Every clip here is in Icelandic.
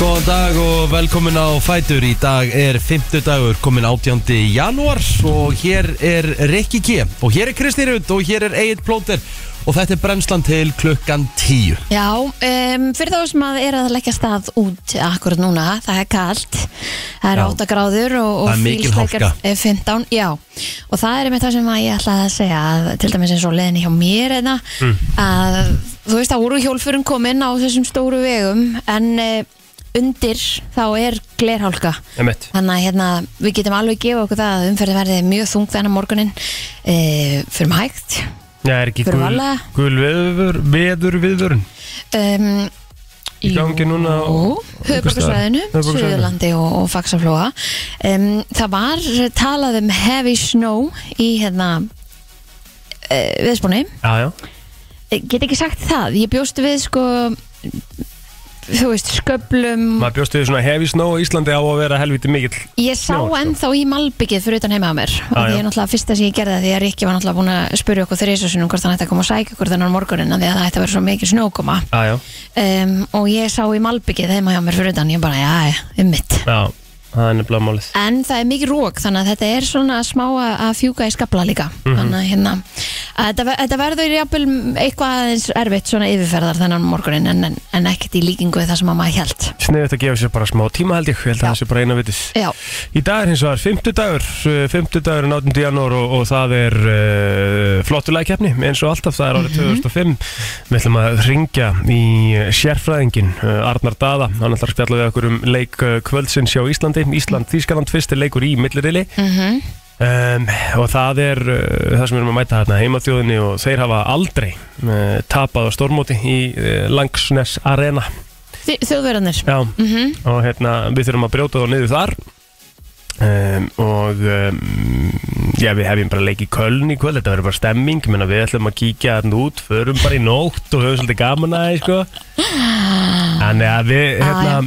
Góðan dag og velkomin á Fætur Í dag er 50 dagur, komin 18. janúar Og hér er Rikki G Og hér er Kristi Rund og hér er Egil Plóter Og þetta er brennslan til klukkan 10 Já, um, fyrir þá sem að er að leggja stað út akkurat núna, það er kalt það er Já. 8 gráður og, og Það er mikil fílsleikar hálka. er 15, já og það er með það sem að ég ætlaði að segja að, til dæmis eins og leðin hjá mér einna, Hmm. að þú veist að úr hjólfurum komin á þessum stóru vegum en uh, undir þá er glerhálka Emmett Þannig að hérna, við getum alveg gefa okkur það að umferði verði mjög þung þennan morgunin e, fyrir hægt Já, er ekki Fyrir gul, varlega. gul veður, veður viðvörun um, Í gangi núna á- höfbrukarsvæðinu, Höfuðborgarsvæðinu. Suðurlandi og, og Faxaflóa um, það var talað um heavy snow í hérna uh, viðspóni Já, já Eh, get ekki sagt það, ég bjóst við sko þú veist, sköplum Maður bjóst við svona heavy snow á Íslandi á að vera helviti mikill Ég sá snjó, sko. ennþá í malbyggið fyrir utan heima á mér og Já, því já. er náttúrulega fyrsta sem ég gerði það því að Rikki var náttúrulega búin að spyrja okkur þriðsessunum hvort hann ætti að koma og sækja okkur þennan morguninn af því að það ætti að vera svo mikið snjókoma Já, já um, og ég sá í malbyggið heima hjá mér fyrir utan ég bara, já, já, um mitt Já, það er nefnilega málið en það er mikið rók þannig að þetta er svona smá að að fjúka í skabla líka Mhm. þannig að hérna að þetta, ver- þetta verður jafnvel eitthvað aðeins erfitt svona yfirferðar þennan morgunin en, en, en ekkert í líkingu við það sem að maður held Sniðið að gefa sér bara smá tíma held ég Ég held Já. að það sé bara eina vitið já, Í dag er hins vegar 50 dagur 50 dagur er 18. janúar og, og það er uh, flottulægkeppni eins og alltaf, það er árið 2005 Við ætlum að ringja í eh, sérfræðingin uh, Arnar Dada Hann ætlar að spjalla við okkur um leik uh, kvöldsins hjá Íslandi Ísland, Þískaland, fyrsti leikur í millirili mm Um, og það er uh, það sem við erum að mæta hérna heimaþjóðinni og þeir hafa aldrei uh, tapað á stormóti í uh, Langsnes Arena þjóðverðanir Já, mm og hérna við þurfum að brjóta þá niður þar um, og um, já, við hefum bara leik í Köln í kvöld, þetta verður bara stemming menna, við ætlum að kíkja hérna út, förum bara í nótt og höfum svolítið gaman að því, sko. þannig að við hérna, Ah,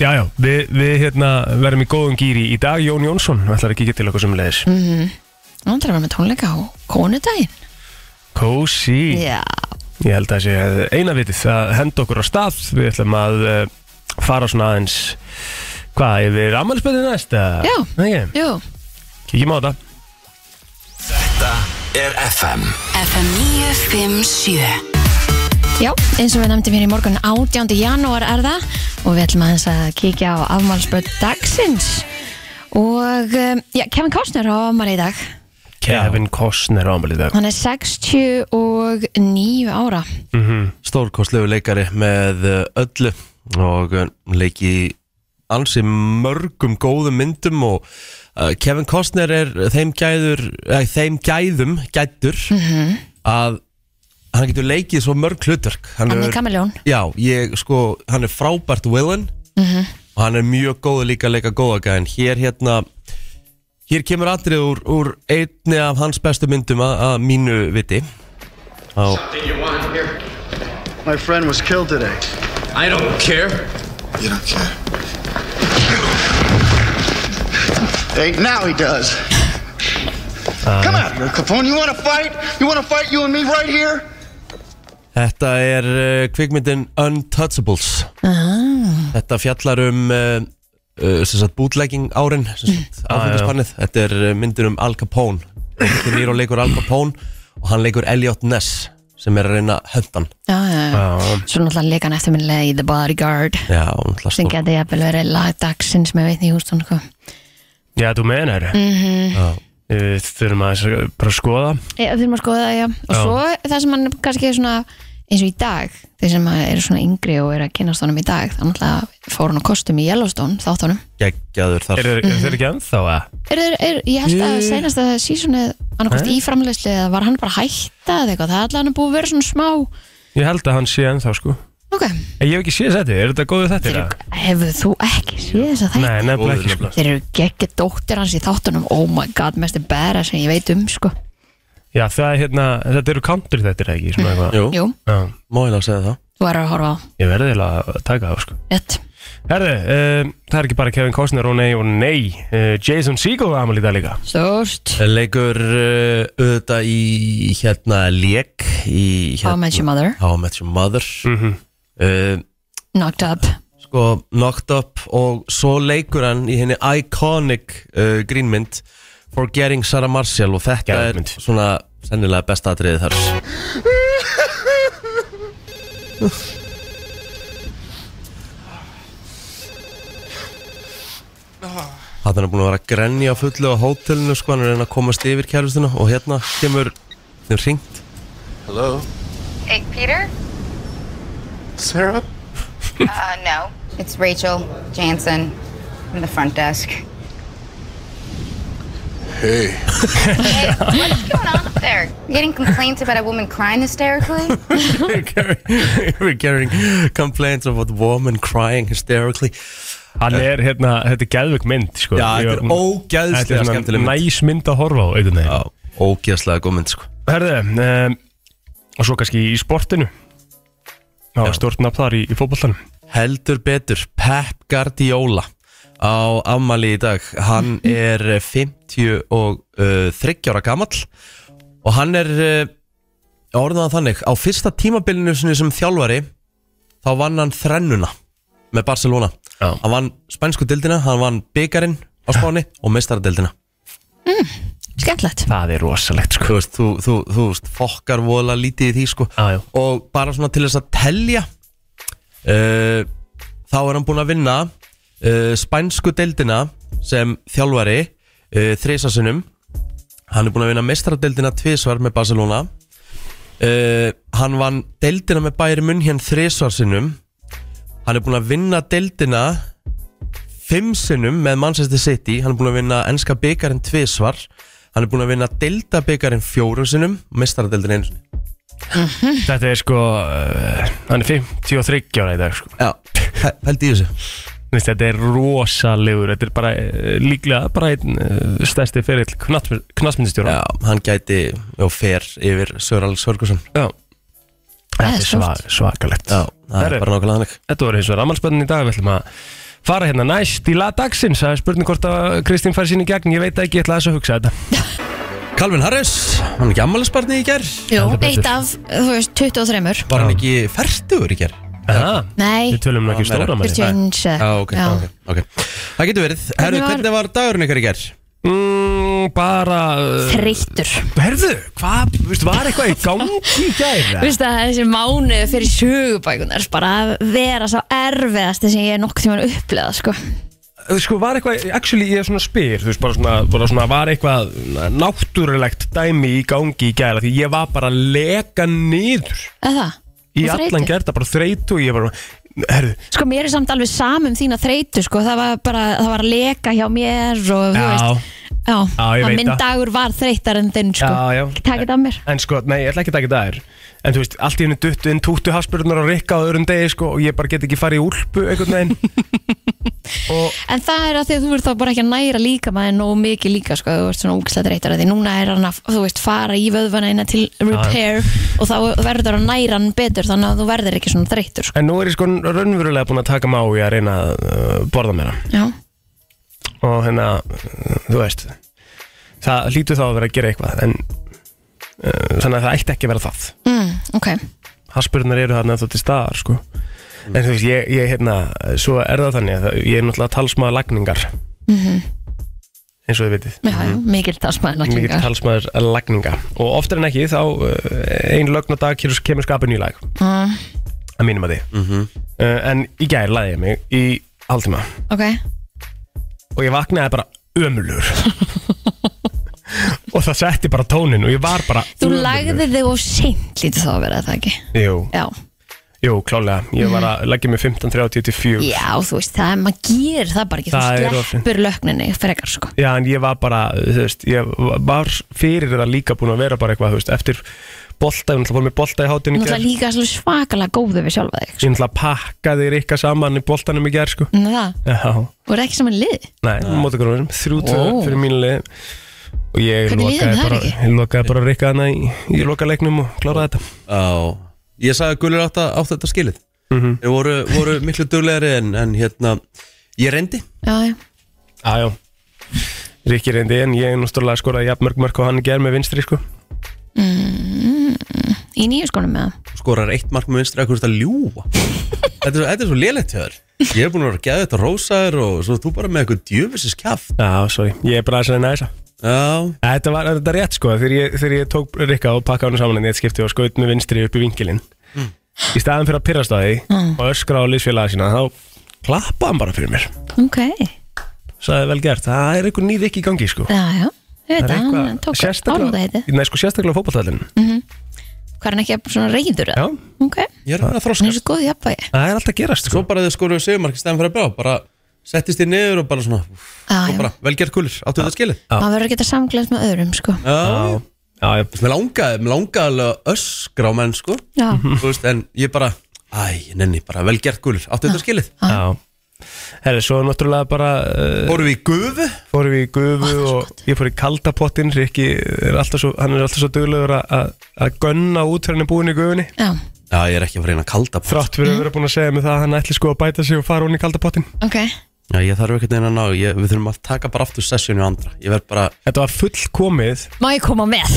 já, já, við, við hérna, verðum í góðum gýri í dag Jón Jónsson ætlar að kíkja til okkur sem leiðis mm -hmm. Nú ætlar að vera með tónleika á konudaginn Kósi Já, Ég held að það sé eina vitið að henda okkur á stað Við ætlum að uh, fara svona aðeins Hvað, yfir ammælspöldið næst? eða? Já. Nei, ekki, jú kíkjum á þetta Þetta er FM FM 957 Já, eins og við nefndum hér í morgun 18. janúar er það og við ætlum aðeins að kíkja á afmálspöld dagsins og um, já, Kevin Costner á afmáli í dag Kevin Costner á ammælið dag hann er 69 ára Stórkostlegu leikari með eh, öllu Og eh, leiki í ansi mörgum góðum myndum Og eh, Kevin Costner er þeim gæður eh, Þeim gæðum gættur Mhm. Að hann getur leikið svo mörg hlutverk hann er hefur- kamiljón Já, ég sko, hann er frábært villain og hann er mjög góð líka að leika góða gæðin hér hérna hér kemur atrið úr, úr einni af hans bestu myndum að, að mínu viti á, You want here? My friend was killed today. I don't care. You don't care. Hey, now he does. Come out here, Capone. You want to fight? You want to fight you and me right here? þetta er uh, kvikmyndin Untouchables þetta fjallar um uh, uh, sem sagt bootlegging árin sem sagt áfengispannið, þetta er uh, myndir um Al Capone, þetta er nýr og leikur Al Capone og hann leikur Elliot Ness sem er að reyna höndan já, já, já. svo náttúrulega leika hann eftirminnilega í The Bodyguard Já, hún ætlar sem stór geti jafnvel verið lag dagsins með sko. veitni Hjústun Já, þú menar mm Mm-hmm. -hmm. Þurfum að bara að skoða Já, við þurfum að skoða það, já. Og Já. svo það sem hann kannski er svona eins og í dag, þeir sem eru svona yngri og eru að kynast honum í dag, þannig að fór hann á kostum í Yellowstone, þátt honum. geggjaður þar Er, er, Mm-hmm. þeir ekki ennþá að? Er, er, er, ég held að senast að sísunni annarkost í framleysli eða var hann bara að hætta eða eitthvað, það er alltaf hann búið að vera svona smá Ég held að hann sé ennþá sko ok, Ég hef ekki séð þetta, er þetta góðu þetta? þeir, hefur þú ekki séð þess að þetta? Nei, nefnilega ekki sko Þeir eru geggja dóttir hans í þáttunum oh my god, mest er bæra sem ég veit um sko. Já, það er hérna, þetta eru country þetta ekki svona eitthvað Jú, Jú, Já, móilega að segja það þú er að horfa á Ég verði eiginlega að taka það sko Rétt. Herðu, um, það er ekki bara Kevin Costner og nei og nei uh, Jason Segel var amal í dag líka Stórst, Eh, Leikur uh, auðvitað í hérna leik í How I hérna, Met Your Mm-hmm. Mother How I Met Your Mother Mhm. uh, Knocked Up sko Knocked Up og svo leikur hann í henni iconic uh, grínmynd Forgetting Sarah Marshall og þetta Geðveik mynd. er svona sennilega besta atriðið þar Hann er búin að vera að grenja á fullu á hótelinu sko, hann er að reyna að komast yfir kærlustuna og hérna kemur, þeim ringt Hello, Hey, Peter? Sarah? Uh, no. It's Rachel Jansen from the front desk. Hey. Hey, what's going on up there? You getting complaints about a woman crying hysterically? We're getting complaints about woman crying hysterically Hann er hérna, þetta er geðvögg mynd sko. Eh. Já, þetta er Ég- ógeðslega Þetta er svona skemmtileg mynd. Næs mynd að horfa á einhvern veginn Já, ógeðslega góð mynd sko Herðu, um, og svo kannski í sportinu Það var stort nafn þar í, í fótbollanum Heldur betur, Pep Guardiola á ammali í dag Hann er 50 og uh, 30 ára gamall og hann er uh, orðan þannig, á fyrsta tímabilinu sinni sem þjálfari þá vann hann þrennuna með Barcelona Já. Hann vann spænsku dildina, hann vann byggarinn á Spáni og mestaradildina skemmtlegt Það er rosalegt þú veist, þú, þú, þú veist, fokkar vola lítið í því sko Já, já. og bara svona til þess að telja uh, þá er hann búinn að vinna uh, spænsku deildina sem þjálfari uh, þrisasunum hann er búinn að vinna mestradeildina tvísvar með Barcelona uh, hann vann deildina með Bayern Munn hérna þrisvarsunum hann er búinn að vinna deildina fimm sinnum með Manchester City hann er búinn að vinna enska byggarinn tvísvar hann er búinn að vinna deildabyggarinn fjórum sinnum mestaradeildin einu sinni Þetta er sko, uh, hann er 53 ára í dag sko. Já, pæ- pældi í þessu Veist, Þetta er rosalegur, þetta er bara uh, líklega bara einn uh, stærsti ferill knastmyndistjóra Já, hann gæti og fer yfir Sörald Sörgusson Já. Þetta Það er er sva, svakalegt Já, það er Herri. bara nákvæmlega þannig Þetta voru eins og rammalspönnin í dag, við ætlum að fara hérna næst í lagdagsins Það er spurning hvort að Kristín fari sín í gegn, ég veit það ekki, ég ætla þess að hugsa þetta Calvin Harris, hann er ekki ammælisbarni í ger Jú, Heldur betur. eitt af, þú veist, 23 Var hann ekki færtugur í ger? Aha, Nei, Við tölum nú ekki Já, meira. stóra manni 41 Já, Ah, ok, Já. ok, ok Það getur verið, herru, var- hvernig var dagurinn ykkar í ger? mm, Bara uh, Þreyttur Herðu, hvað, veist, var eitthvað í gangi í gæða? Vist að þessi mánu fyrir sögubækunar bara að vera sá erfiðasti sem ég er nokkuð tíma upplegað sko. Sko, var eitthvað, actually, ég er svona spyr Þú veist, bara svona, bara svona var eitthvað náttúrulegt dæmi í gangi í gæða Því ég var bara að leka niður Eða það? Í Og allan þreytu. gerða, bara þreytu Ég var, herðu, Sko mér er samt alveg samum þína þreytu sko. það, var bara, það var að leka hjá mér og þú já veist Já, Já, að ég veit minn það. dagur var þreytar en þinn sko. Já, já. Takk þetta af mér En sko, nei, ég ætla ekki að taka þetta þær En þú veist, allt í henni duttu inn 20 hafsbjörnar og rikka á öðrum degi sko Og ég bara get ekki farið í úlpu einhvern veginn En það er að því að þú ert þá bara ekki að næra líka maður nógu mikið líka sko, þú ert svona úkslega þreytar því núna er hann að, þú veist, fara í vöðvana innan til repair og þá verður að næra hann betur þannig að þú verður ekki svona þreytur sko. En nú er ég sko raunverulega búin að taka mig á í að reyna að uh, borða mér hann sko. Já, Og hérna, uh, þú veist Það hlýtu þá að vera að gera eitthvað En uh, þannig að það ætti ekki að vera það mm, ok Hafsbjörnar eru þarna þá til staðar sko En þú veist, ég, ég hérna, svo er það þannig að það- Ég er náttúrulega talsmaður lagningar Eins og þið vitið Já, já, mikil talsmaður mikill lagningar talsmaður lagninga og oftar en ekki þá uh, ein lögn og dag kemur, kemur skapin í lag mm, að mínum að því uh, en í gær laði ég mig í hálftíma Ok, og ég vaknaði bara ömulur og það setti bara tónin og ég var bara þú ömurlegur. lagði þig og seint lítið þá að vera það ekki Jú, Já, jú, klálega, ég var að leggja mig 15.30 til 4 já þú veist, það er, maður ger það bara ekki, Það er þú of seint. sleppur lögninni frekar sko Já, en ég var bara, þú veist, ég var fyrir það líka búin að vera bara eitthvað, þú veist, eftir bolta, ég náttúrulega fór mér bolta í hátinn í Þú ætla gær, líka alveg svakalega góðu við sjálfa þig ég náttúrulega pakkaði rikka saman í boltanum í gær, sko. sko. Nú það, Já. þú er ekki saman lið Nei, móti gróðum, þrjú tvö Ó. fyrir mínu lið og ég Hvernig liði lokaði það bara, ekki? ég lokaði bara að rikka hana í, í lokaleiknum og kláraði þetta Já, ég sagði að Gullur átt, að- átt þetta skilið mm -hmm. voru, voru miklu duglegri en, en hérna ég reyndi Já, já, Jájá Rikki reyndi en ég náttúrulega skoraði jafn mörg mörg og hann ger með vinstri sko í nýju skónum með það skorar eitt mark með vinstri að hvernig að ljúa þetta, er svo- þetta er svo lélegt hjá þér Ég er búin að vera að geða þetta rósaður og svo þú bara með eitthvað djöfisins kjaft Já, sorry, ég er bara aðeins að reyna þessa Já, Þetta var þetta er rétt sko, þegar ég, þegar ég tók Rikka og pakkaði hann saman en ég skipti og skaut með vinstri upp í vinkilinn Mm. Í staðan fyrir að pyrrast á því og öskra á liðsfélaga sína þá klappaði hann bara fyrir mér Ok, Sæði vel gert, það er einhver nýð ekki í gangi sko já, já Ég veit Það er að hann eitthvað tók Mm. ánúða heiti sérstaklega, nei, sko, sérstaklega fótballtallin Hvað er hann ekki svona reyður? Já, Ok, ég er að vera að hann er þroskast svo góð í jafnvægi það er alltaf að gerast Svo sko. bara þið skoruðu sigurmarki stæðan fyrir að bjá Bara settist þið niður og bara svona úff, Já, og já, bara, Velgjart kulir, áttu þetta skilið Já. maður verður að geta samglæst með öðrum, sko Já, Já, já, mér langaði, mér langaði alveg að öskra á menn sko Já, Þú veist, En ég bara, æ, ég nenni bara Velgjart kulir, áttu þetta skilið Ah. já Herri, svo náttúrulega bara uh, Fórum við í gufu fórum við í gufu og ég fór í kaldapottin Rikki er alltaf svo, hann er alltaf svo duglegur að- að að gönna út þegar hann er búinn í gufunni já, Já, ég er ekki að fara inn að kalda pott. Mm. Þrátt fyrir að vera búinn að segja mig það að hann ætli sko að bæta sig og fara hún í kaldapottin ok Já, ég þarf ekkert einn að ná ég, Við þurfum að taka bara aftur sessjónu andra Ég verð bara, Þetta var fullkomið Má ég koma með?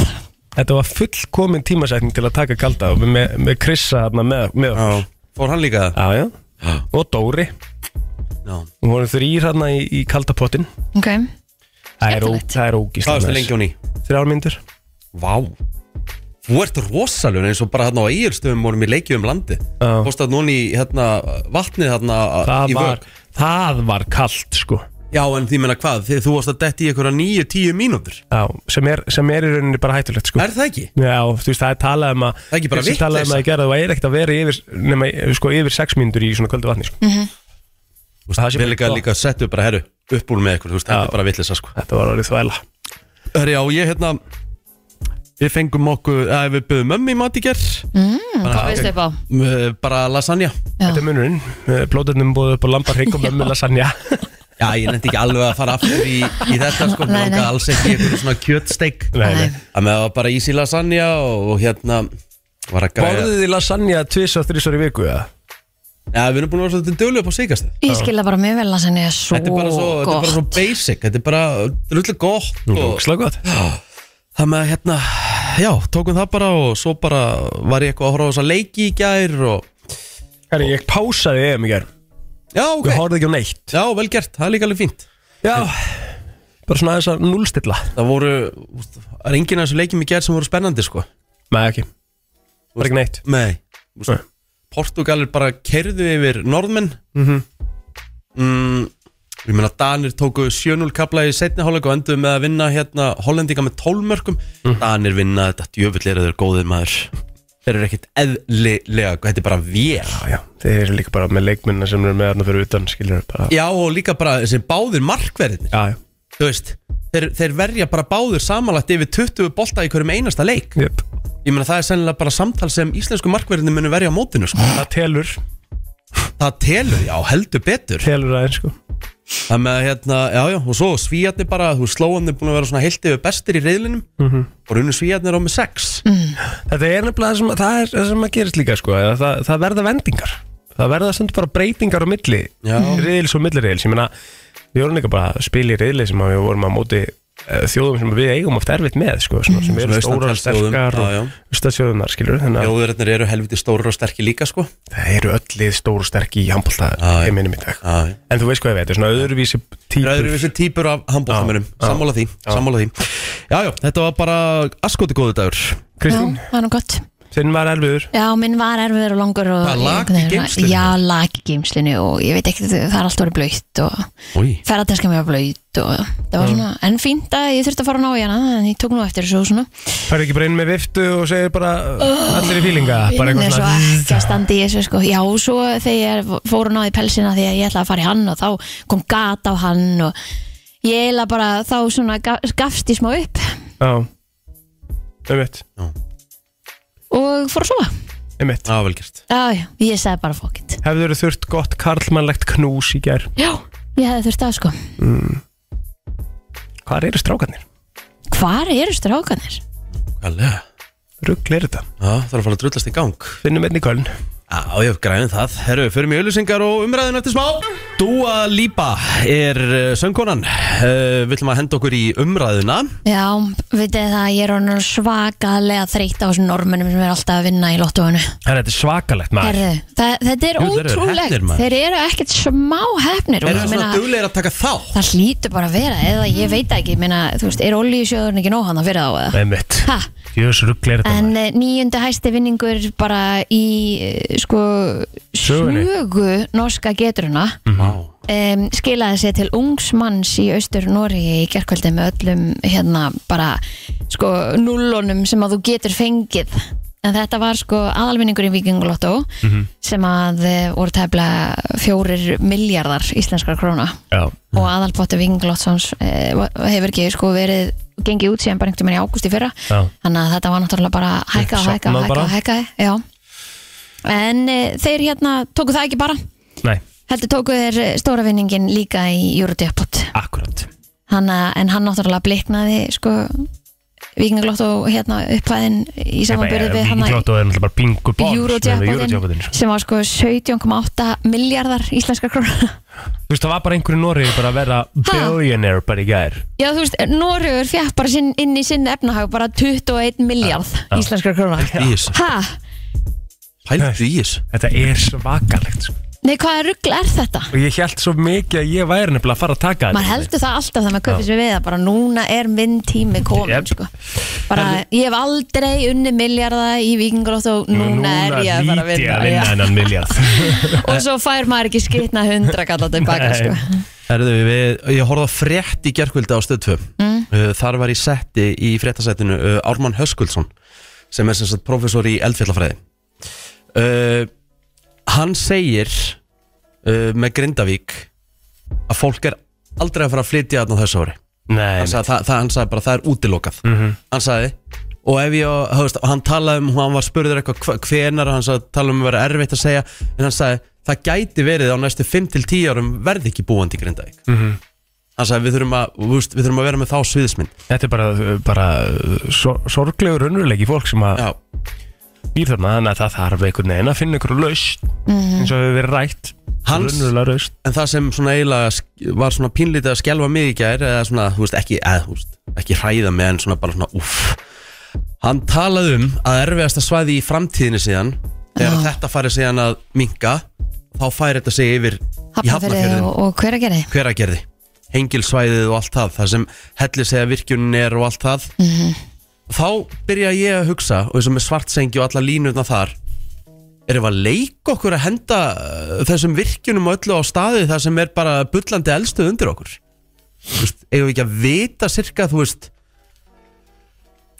Þetta var fullkomin tímasetning til að taka kalda og með, með Krissa þarna með, með já, okkur fór hann líka það? Já, já, og Dóri Já, Við vorum þrýr hérna í, í kaldapottin Ok, Það er, ó, Skemmtilegt. það er ógíslega hvað varstu lengi á ný? Þrjár myndir Vá Þú ert rosalur eins og bara hérna á eigilstöðum vorum í leikju um landi Já. Fórst að núna í hérna, vatnið hérna það í var, vögg það var kallt sko Já en því menna hvað, þið, þú varst að detti í einhverja nýju, tíu mínútur Já, sem, er, sem er í rauninni bara hættulegt sko Er það ekki? Já, þú veist, það er talað um að Það er ekki bara sem talað um vitleysa. að gera, þú er ekkert að vera yfir nema, sko, yfir sex mínútur í svona kvöldu vatni sko. Þú veist, Það sé Við bara líka, gott. líka settu bara herru upp úr með ykkur, þú veist, þetta Já. er bara vitleisa sko Þetta var orðið þvæla Herri já, ég hérna Við fengum okkur, að við byggum mömmi í mat í gerð hvað veistu upp á? Bara lasagna Þetta er munurinn, blóðurnum búið upp á lambarhygg og mömmu lasagna Já, ég nefndi ekki alveg að fara aftur í, í þetta sko, mér Nei, nei. langaði alls ekki í einhverju svona kjötsteik Nei, nei. að með það var bara ísi lasagna og, og hérna var að græja Borðið þið lasagna tvis og þrísar í viku, eða? Já, við erum búin að vera svolítið dölu upp á síkast Ég skil það bara mjög vel að senni að svo Þetta er bara svo, þetta er bara svo gott basic Þetta er bara rullu gott Nú, og, ógislega gott Það með að hérna, já, tókum það bara og svo bara var ég eitthvað að horfa á þess að leiki í gær og Herri, ég pásaði EM í gerð Já, ok, Ég horfði ekki á neitt já, vel gert, það er líka alveg fínt Já, bara svona aðeins að núlstilla Það voru, þú veist, það er enginn af þessu leikjum í gær sem voru spennandi sko Nei, ekki, bara ekki neitt Nei Nei. Portugalir bara kerðu yfir norðmenn mm, Ég meina Danir tóku 7-0 kapla í setni hálfleik og enduðu með að vinna hérna Hollendinga með 12 mörgum Danir vinna þetta djöfull er að þeir eru góðir maður Þeir eru ekkert eðlilega Þetta er bara vél Já, já, þeir eru líka bara með leikminna sem eru með þarna fyrir utan, skilur við bara Já og líka bara þessi báðir markverðinir Já, já, Þú veist Þeir, þeir verja bara báður samanlagt yfir 20 bolta í hverjum einasta leik jöp Ég meina það er sennilega bara samtal sem íslensku markverðinni munu verja á mótinu sko. Það telur, Það telur, já heldur betur telur aðeins sko Það með að hérna, já já, og svo svíjarnir bara, þú slóðan er búin að vera svona heilt yfir bestir í reyðlinum og runnu svíjarnir á með sex Þetta er nefnilega það sem, það er, það sem að gerist líka sko eða það, það verða vendingar Það verða stundur bara breytingar á milli Já. Riðils og millireils, ég meina Við vorum líka bara að spila í riðli sem að við vorum að móti eh, þjóðum sem við eigum oft erfitt með sko, svona, sem Mm, Svona eru stóra austantalsþjóðum, sterkar já, já. og stafsjóðunar skilur þannig að Jóðurinnir eru helviti stórir og sterkir líka sko það eru öll lið stóru sterk í handbólta Já, já. heiminum í dag Já, já. en þú veist hvað ég veit, þetta er svona öðruvísi Það típur eru þessi típur af handbóltamönum, Já, já. sammála því, sammála því Já já, þetta var bara askoti góðu dagur Já, Kristín, það er nú gott þinn var erfiður Já, minn var erfiður og langur og Hvað, lak í einhvern veginn- geymslunni? Já, lag í geimslinu og ég veit ekki, það er allt orðið blöytt og Új, ferðarteska mér var blöytt og það Mm. var svona, en fínt að ég þurfti að fara að ná í hana en ég tók nú eftir þessu og svona færðu ekki bara inn með viftu og segir bara allir í fílinga bara Inn er eitthvað svo svona ekki að standa í þessu sko. Já, og svo þegar ég fór og náði í pelsina því að ég ætlaði að fara í hann og þá kom gat á hann og ég eiginlega bara þá svona gaf- gafst ég smá upp Já, einmitt, og fór að sofa. einmitt það var vel gert Já, já, ég sagði bara fuck it. Hefðu verið þurft gott karlmannlegt knús í gær Já, ég hefði þurft að sko. Hvar eru strákarnir? Hvar eru strákanir? Kallega, Ruggl er þetta já það er að fara að drullast í gang Finnum einn í köln Já, já, græðum það. Herru, förum í auðlýsingar og umræðin eftir smá. Dua Lipa er uh, söngkonan. Uh, við ætlum að henda okkur í umræðina. Já, vitið það, ég er honum svakalega þreytt á þessum normunum sem er alltaf að vinna í lottóinu. Herra, þetta er svakalegt maður Herðu, það, þetta er Jú, þeir eru ótrúlegt. heppnir, maður. Þeir eru ekkert smá hefnir. Er það svona duglegir að taka þá? Það hlýtur bara að vera, eða ég veit ekki, ég meina, þú veist, er olíusjóðurinn ekki nóhanna fyrir þá eða? Nei mitt Ha, Jörs rugglir þetta en maður eh, níundi hæsti vinningur bara í, eh, sko, Sögunni. Mhm. sögu norska geturuna um, skilaði sér til ungs manns í austur Nóri í gerkvöldi með öllum hérna bara sko nullunum sem að þú getur fengið en þetta var sko aðalvinningur í Vikinglottó Mhm. sem að eh, voru tefla fjórir miljardar íslenskar króna Já og aðalpottu Vikinglottsons eh, hefur ekki sko verið gengið út síðan bara einhvern veginn í ágúst í fyrra Já. þannig að þetta var náttúrulega bara hækka og hækka og Uppsafnað hækka bara. og hækka já en e, þeir hérna tóku það ekki bara Nei, heldur tóku þeir eh, stóra vinningin líka í Eurodepot akkurat hann, en hann náttúrulega bliknaði sko vikinglott og hérna upphæðin í samanbyrði við hann Víkinglótt og er náttúrulega bara pingu sko, bóns Eurojackpotin sem var sko 17,8 miljardar íslenskar krónar Þú veist, það var bara einhverju Noregi bara að vera billionaire bara í gær Já þú veist, Noregur fjætt bara sinn, inn í sinn efnahag bara 21 miljard íslenskar krónar Í þessu. Hæ? Pældu í þessu. Þetta er svakalegt sko. Nei, hvaða rugl er þetta? Og ég held svo mikið að ég væri nefnilega að fara að taka Maður heldur það alltaf þegar maður kaupir sér við að bara núna er minn tími komin Yep. sko. bara ég hef aldrei unni miljarda í vikinglótt og núna, er ég að fara að Núna lít ég vinna, að vinna Já. hennan miljard og svo fær maður ekki skitna hundra kalla tilbaka Nei. sko. Herðu, við, ég horfði á frétt í gerkvöldi á stöð 2 uh, Þar var ég setti í fréttasettinu uh, Ármann Höskuldsson sem er sem sagt professor í eldfjallafræði uh, Hann segir uh, með Grindavík að fólk er aldrei að fara að flytja þarna á þessu ári Nei, hann sagði, það, það, hann sagði bara það er útilokað hann sagði og ef ég, þú veist, hann talaði um hann var spurður eitthvað hva- hvenar og hann sagði, talaði um að vera erfitt að segja en hann sagði það gæti verið á næstu 5-10 árum verði ekki búandi í Grindavík hann sagði við þurfum að, þú veist, við þurfum að vera með þá sviðismynd þetta er bara, bara uh, sor sorglegur unnurleiki fólk sem að já, býr þarna þannig að það þarf einhvern veginn að finna ykkur laust Mhm. eins og hefur verið rætt Hans- Raunverulega laust en það sem svona eiginlega sk- var svona pínlítið að skelfa mig í gær eða svona, þú veist, ekki, eða, þú veist, ekki hræða mig en svona bara svona, uff hann talaði um að erfiðasta svæði í framtíðinni síðan þegar þetta farið síðan að minka þá fær þetta sig yfir í Hafnafjörði hafnafjörðin, og, og hver að gera þið? hveragerði hengilsvæðið og allt það, það sem hellir segja virkjunin er og allt það -hmm. þá byrja ég að hugsa og þessum með svartsengi og alla línutna þar erum við að leika okkur að henda uh, þessum virkjunum og öllu á staði þar sem er bara bullandi elstuð undir okkur Þú veist, eigum við ekki að vita sirka, þú veist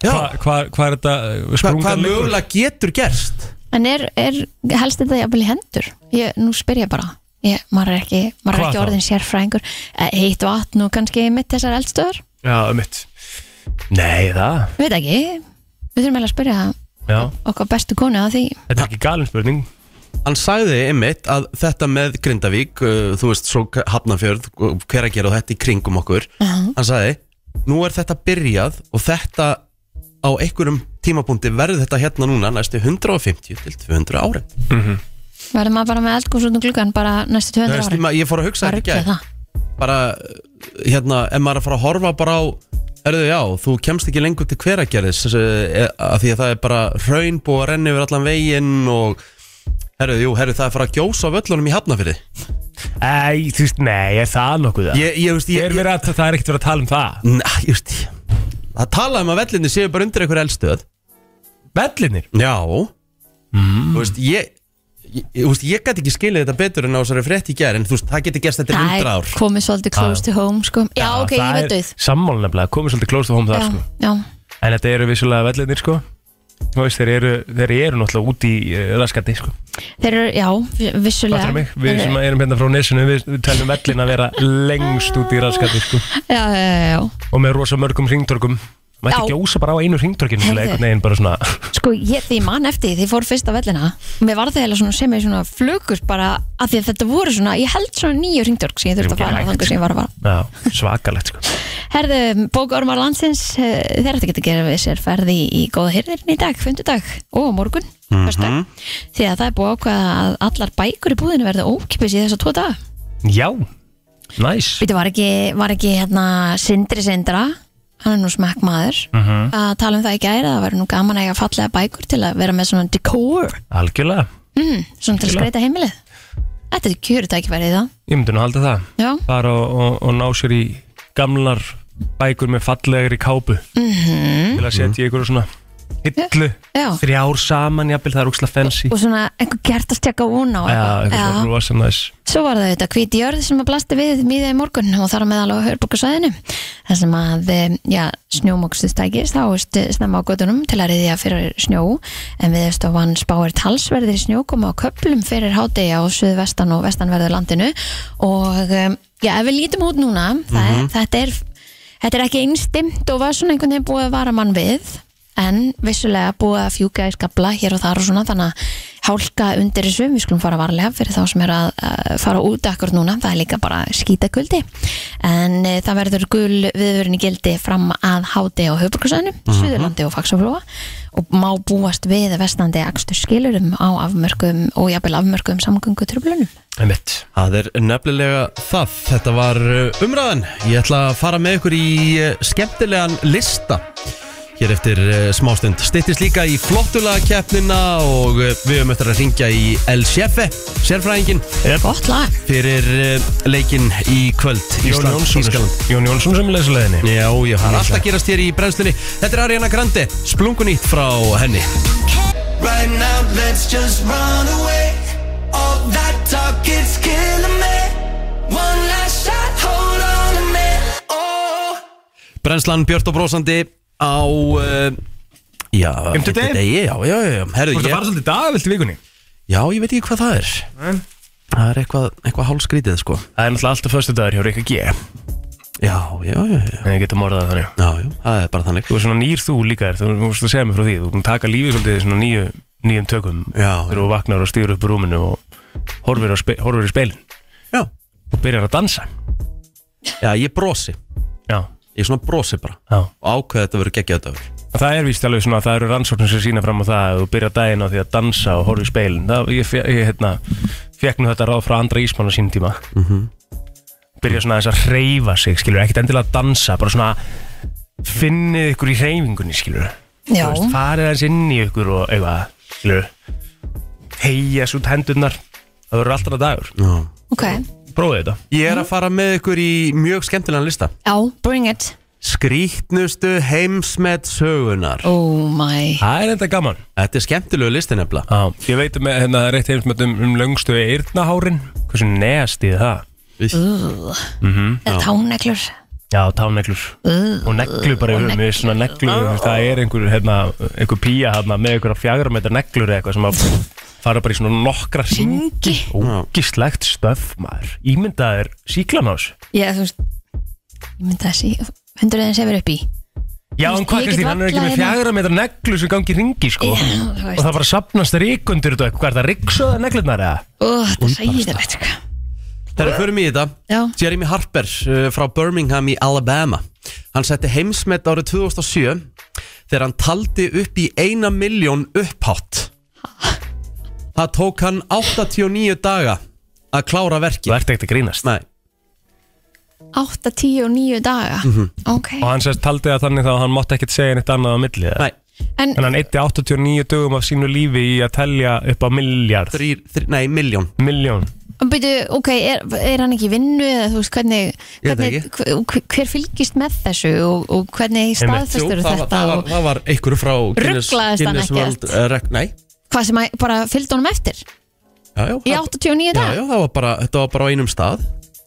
Já, Hva- hva, Hvað hva er þetta hvað sprungan leikur? mögulega getur gerst En er, er helst þetta jafnvel í hendur? Ég, nú spyr ég bara ég, maður er ekki, maður er Hvað ekki þá? orðin sérfræðingur Eh, heitt vatn og kannski mitt þessar eldstöðar Já, mitt Nei, það Ég veit ekki, við þurfum eiginlega að spyrja Já, okkar bestu konu að því þetta er ekki galin spurning Hann sagði einmitt að þetta með Grindavík, uh, þú veist, svo Hafnarfjörð, uh, hver að gera þetta í kringum okkur Hann sagði, nú er þetta byrjað og þetta á einhverjum tímapunkti verður þetta hérna núna næstu 150 til 200 ári verður maður bara með eldgóðs út um gluggan bara næstu 200 ári Ég fór að hugsa að þetta ruggja í gær. það bara, uh, hérna, ef maður er að fara að horfa bara á Erðu, já, þú kemst ekki lengur til hveragerðis eh, af því að það er bara hraun búið að renna yfir allan veginn og herðu, jú, herðu, það er að fara að gjósa á völlunum í Hafnafyrði Æ, þú veist, nei, er það nokkuð það? Ég, ég, veist, ég, er ég, verið að, það er ekkert verið að tala um það Næ, ég veist Það tala um að vellinni séu bara undir einhver eldstöð Vellinir Já Þú veist, ég Ég, ég, þú veist, ég gæti ekki skilið þetta betur en á þessari frétt í gær en þú veist, það geti gerst þetta í Það 100 ár er komið svolítið close to home sko. Já, ok, ég veit auð Sammál nefnilega, komið svolítið close to home þar já, sko. já. En þetta eru vissulega vellinir sko Þú veist, þeir eru, þeir eru náttúrulega út í uh, raskati sko Þeir eru, já, vi- vissulega Fattar mig, við Þeir- sem erum hérna frá nesinu Við, við teljum vellin að vera lengst út í raskati sko Já, já, já, já Og með rosa mörgum ringtorkum Mætti Já. ekki ósa bara á einu ringdrökinu Heyrðu. einhvern veginn bara svona Sko, ég, því ég man eftir, því ég fór fyrst á vellina Mér var það heila svona sem ég svona flugur bara að því að þetta voru svona, ég held svona nýju ringdörg sem ég þurfti að fara á þangar sem ég var að fara já, svakalegt sko. Herðu, bókormar landsins eh, þeir ætti ekki að gera við sér ferði í góða hirðirinn í dag, fundudag og á morgun, mm því að það er búið að ákveða að allar bækur í búðinu verði ókipis í þessa tvo daga Já, næs Býtu, var ekki, var ekki hérna Sindri Sindra hann er nú smekk maður að tala um það í gæri, það verður nú gaman að eiga fallega bækur til að vera með svona decor Algjörlega, svona til að Algjörlega. skreita heimilið Þetta er kjöru tækifæri í það ég myndi nú halda það Já, Fara og, og, og ná sér í gamlar bækur með fallegri kápu Til að setja í ykkur svona hillu já Mhm. Þrjár saman, jafnvel, það er úkslega fancy og svona einhver gert að stjaka ón á Já, eitthvað. eitthvað svona rosa næs Svo var það auðvitað hvít jörð sem að blasti við mýða í morgun og þar á meðal á hörbúkarsæðinu þar sem að eh, já, snjómokstuð stækist þá er stu- snemma á gödunum til að riðja fyrir snjó en við stofan spáir talsverðir snjókoma á köplum fyrir hádegi á suðvestan og vestanverðu landinu og eh, já, ef við lítum út núna það, er- þetta, er, þetta er ekki einstimt og var svona einhvern veginn búið að vara mann við en vissulega búið að fjúka í skabla hér og þar og svona þannig að hálka undir þessu, við skulum fara varlega fyrir þá sem er að, að fara út akkur núna það er líka bara skítakuldi en e, það verður gul viðvörun í gildi fram að háti á höfbruksöðinu Suðurlandi og Faxaflóa og má búast við vestandi akstur skilurum á afmörkum og jafnvel afmörkum samgöngu tröflunum Einmitt. Það er nefnilega það, þetta var uh, umræðan Ég ætla að fara með ykkur í uh, skemmtilegan lista Hér eftir uh, smástund Stittist líka í flottulega keppnina og uh, við höfum eftir að ringja í El Sjefe, sérfræðingin Gott lag, Fyrir uh, leikin í kvöld Jón Ísland, Jónsson Ískaland Jón Jónsson sem lesa leðinni Já, já, það er alltaf að gerast hér í brennslunni Þetta er Ariana Grande, splungunýtt frá henni Right now let's just run away All that talk it's killing me One last shot, hold on a minute Oh Brennslan Björn og Brósandi á uh, Já, Fimmtu degi? degi, Já, já, já, já. Herðu, Þú ert að ég, fara svolítið dagvilt í vikunni já, ég veit ekki hvað það er Það er eitthvað, eitthvað hálskrítið sko Það er náttúrulega alltaf föstu dagur hjá Rikka G Já, já, já, já, En ég geta morðað þannig já, já það er bara þannig Þú er svona nýr þú líka þér, þú þú veist að segja mér frá því Þú erum taka lífið svolítið í svona nýju, nýjum tökum Já. Þegar þú vaknar og stýr upp úr rúminu og horfir, á spe, horfir í speilin Já, og byrjar að dansa já ég brosi Já, Ég svona brosi bara já og ákveð að þetta verður geggjað dagur Og Það er víst alveg svona, það eru rannsóknir sem sína fram á það að þú byrjar daginn á því að dansa og horfa í speilin það, ég, fe- ég hérna, fekk nú þetta ráð frá andra ísmann á sínum tíma -hmm. byrja svona aðeins að hreyfa sig skilur, ekkert endilega að dansa bara svona finnið ykkur í hreyfingunni skilur, já, farið aðeins inn í ykkur og eitthvað, skilur heia svo hendurnar það verður alltaf dagur, ok prófið þetta Ég er að fara með ykkur í mjög skemmtilegan lista Já, bring it Skrítnustu heimsmet sögunar Oh my það er enda gaman Þetta er skemmtilegu listi nefnilega Já. ég veit um að hérna, það er eitt heimsmyndum um löngstu eyrnahárin, hversu nest í það Þetta háneglur Já, táneglur og neglu bara og yfir mig, svona neglu þú veist, það er einhver, hérna, einhver pía hérna, með einhverja fjagra metra neglur eða eitthvað sem að fara bara í svona nokkra syngi ógislegt stöf maður ímyndaðir síklan á þessu Já, þú veist Ég myndi að sé Hundur eða sefur upp í Já, en hvað Ég get Kristín, hann er ekki varla með hérna- fjagra metra neglu sem gangi í ringi sko Já, þú og veist. það bara sapnast ríkundur og eitthvað, hvað er það, ríksöða neglurnar eða? Ó, þetta segir þetta veit ekki Þegar við förum í þetta Já. Jeremy Harper uh, frá Birmingham í Alabama Hann setti heimsmet árið 2007 þegar hann taldi upp í eina miljón upphátt Það tók hann 89 daga að klára verkið Þú ert ekkert að grínast Nei, 8, 10 og 9 daga Mhm. Ok og hann sérst taldi það þannig þá að hann mátti ekkert segja neitt annað á milli eða? nei, En en hann eitti 89 dögum af sínu lífi í að telja upp á miljard þrý, þrý, nei, miljón Miljón byrju, ok, er, er hann ekki í vinnu eða þú veist hvernig, Ég veit hvernig hver, hver fylgist með þessu og, og hvernig Einmitt. staðfestur það, var- þetta það, var, og það var einhverju frá Guinness- Ruglaðist hann Guinness ekkert? World, uh, rek, Nei, hvað sem að, bara fylgd honum eftir já, já, í það- 89 já, daga já, það var bara, þetta var bara á einum stað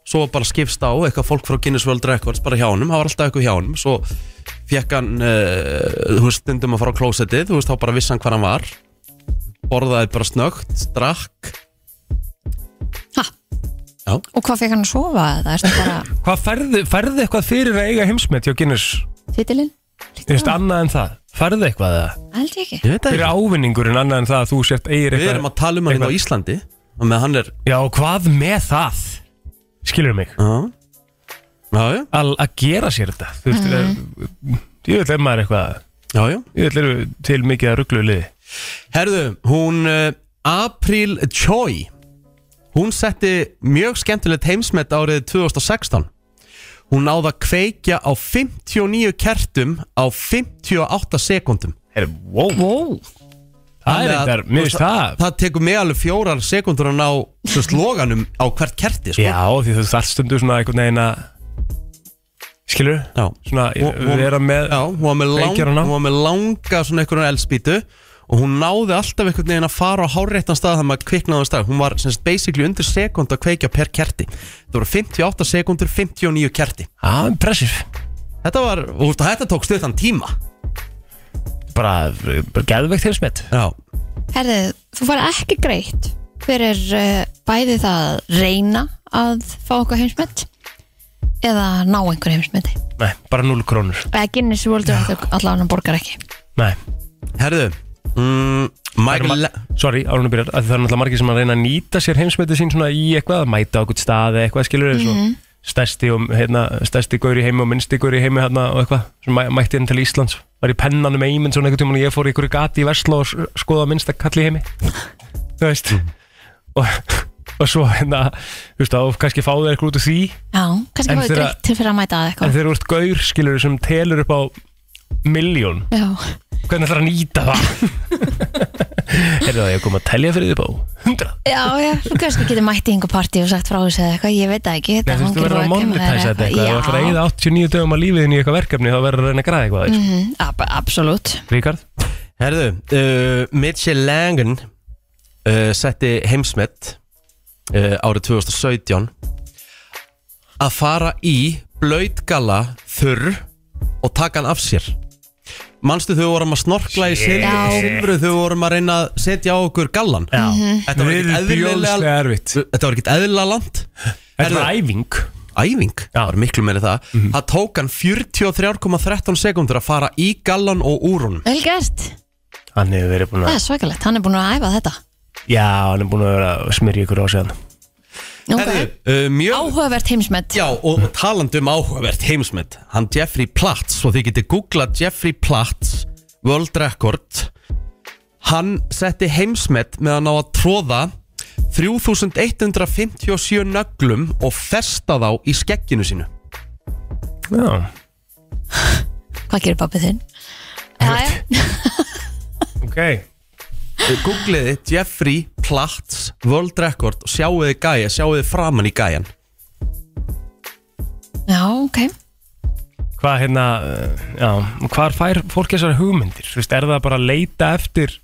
svo var bara skipst á eitthvað fólk frá Guinness World Records bara hjá honum, það var alltaf eitthvað hjá honum svo fekk hann uh, þú veist, stundum að fara á klósettið, þú veist, þá bara vissi hann hvað hann var borðaði bara snögt, drakk ha. Já. og hvað fekk hann að sofa það er bara Hvað færðu, færðu eitthvað fyrir að eiga heimsmet hjá Guinness? titilinn Þú veist, annað en það, farðu eitthvað eða held ég ekki Ég veit það Hver er ekki ávinningurinn annað en það að þú sért eigir Við eitthvað erum að tala um hann eitthvað- á Íslandi Og með hann er Já, hvað með það? Skilur mig Já, já, já, Al Að gera sér þetta Þú veist, mm. ég vil er maður eitthvað já, já. Ég vil eru til mikið að rugglu liði Herðu, hún uh, April Choi Hún setti mjög skemmtilegt heimsmet árið 2016 Hún náði að kveikja á 59 kertum á 58 sekundum Er, wow, wow. Það er eitthvað, mér finnst það Það tekur mig alveg fjórar sekundur að ná svo sloganum á hvert kerti sko. Já, því þú þarft stundu svona einhvern veginn að Skilur Já. Svona, Hún- hún- vera með Já, hún var með, lang, Kveikjar hún á? hún var með langa svona einhvern eldspýtu og hún náði alltaf einhvern veginn að fara á háréttan stað þannig að maður kviknaði á stað hún var semst basically undir sekund að kveikja per kerti það voru 58 sekundur 59 kerti Já, Ah, impressive þetta var, og þetta tók stuð þann tíma Bara, bara geðveikt heimsmet já, Herðið, þú fara ekki greitt fyrir uh, bæði það að reyna að fá okkur heimsmynd eða ná einhver heimsmyndi Nei, bara 0 krónur eða Guinness World Record allavega hann borgar ekki Nei herðu mm, Michael, Le Sorry, árunum byrjar, að það er náttúrulega margir sem að reyna að nýta sér heimsmetið sín svona í eitthvað, að mæta á eitthvað stað eða eitthvað, skilur þau, mm stærsti, og, hérna, stærsti gaur í heimi og minnsti gaur í heimi hérna, og eitthvað, sem mæ, mætti hérna til Íslands var í pennanum eimin svona einhvern tímann og ég fór í einhverju gati í Vesla og s- skoða minnsta kalli í heimi þú veist og, og svo hérna þú veist, þá kannski fá þau eitthvað út úr því Já, kannski En fáið þeirra- greitt til fyrir að mæta að en eitthvað þeir eru gaur, skilur sem telur upp á miljón Já, hvernig ætlar að nýta það er það að ég kom að telja fyrir því upp á 100 já, já, þú kannski getur mætt í einhver partí og sagt frá þessu eða eitthvað, ég veit það ekki Nei, þetta þú veist, þú hangir á verður að veggjum eða monetæsa þetta eitthvað, þú ætlar að Já, eyða 89 dögum að lífið þínu í eitthvað verkefni, þá verður að reyna að græða eitthvað, mm. mhm, ab- absolutt Ríkard. herðu uh, Mitchell Langen uh, setti heimsmet uh, árið 2017 að fara í blöytgalla þurr og taka hann af sér Manstu þau vorum að snorkla í Já. silfru þau vorum að reyna að setja á okkur gallan Mhm. Þetta var ekkert eðlilega erfitt. Þetta var ekkert eðlilega land Þetta var Mhm. æfing. Æfing, það var miklu meiri það Það tók hann 43,13 sekundur að fara í gallan og úr hún Vel gert, Hann hefur verið það búin að, er svakalegt, hann er búin að æfa þetta já, hann er búin að vera að smyrja ykkur á sig hann. Herðu, okay. uh, mjög Áhugavert heimsmynd Já, og talandi um áhugavert heimsmynd Hann Jeffrey Platts og þið getið googlað Jeffrey Platts World Record Hann setti heimsmynd með að ná að tróða 3157 nöglum og festa þá í skegginu sínu Já, Hvað gerir pappið þinn? Jæja. ok. Eh, Googliði Jeffrey Platts World Record og sjáuði gæja, sjáuði framan í gæjan Já, ok Hvað hérna, uh, já, hvar fær fólk þessar hugmyndir? Þú veist, er það bara að leita eftir,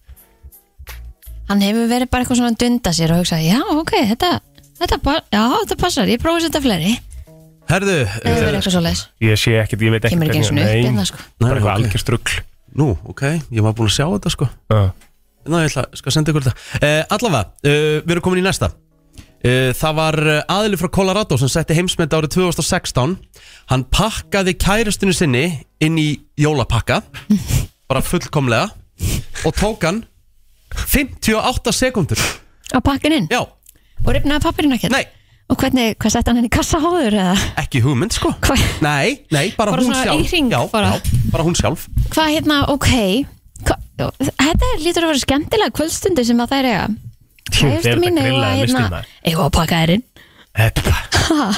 Hann hefur verið bara eitthvað svona að dunda sér og hugsa Já, ok, þetta, þetta, pa- já, þetta passar, ég prófa að setja fleiri Herðu, Það hefur eh, verið eitthvað svo leis ég sé ekkert, ég veit ekkert. Kemur ekki einu hvernig- sinni upp Nei, hérna, sko. Bara Nei, eitthvað ok. algjör strugl. nú, ok, ég var búin að sjá þetta sko Já. Ná, ég ætla, skal senda ykkur þetta uh, Allavega, uh, við erum komin í næsta uh, Það var eh, aðili frá Colorado sem setti heimsmynd árið 2016 Hann pakkaði kæristinu sinni inn í jólapakka Bara fullkomlega Og tók hann 58 sekundur Á pakkin inn Já, og ripnaði pappirinn ekkert nei, Og hvernig, hvað sett hann inn í kassa háður eða ekki hugmynd sko Hvað, Nei, nei, bara, Bara hún svona sjálf í hring, já, bara. já, bara hún sjálf hvað hérna, ok hva, Þetta er lítur að vera skemmtilega kvöldstundi sem að það er eiga Kærustu þetta mín, eigum við grillaði að, listin hérna, maður. eigum við að pakka þær inn Þetta er bara,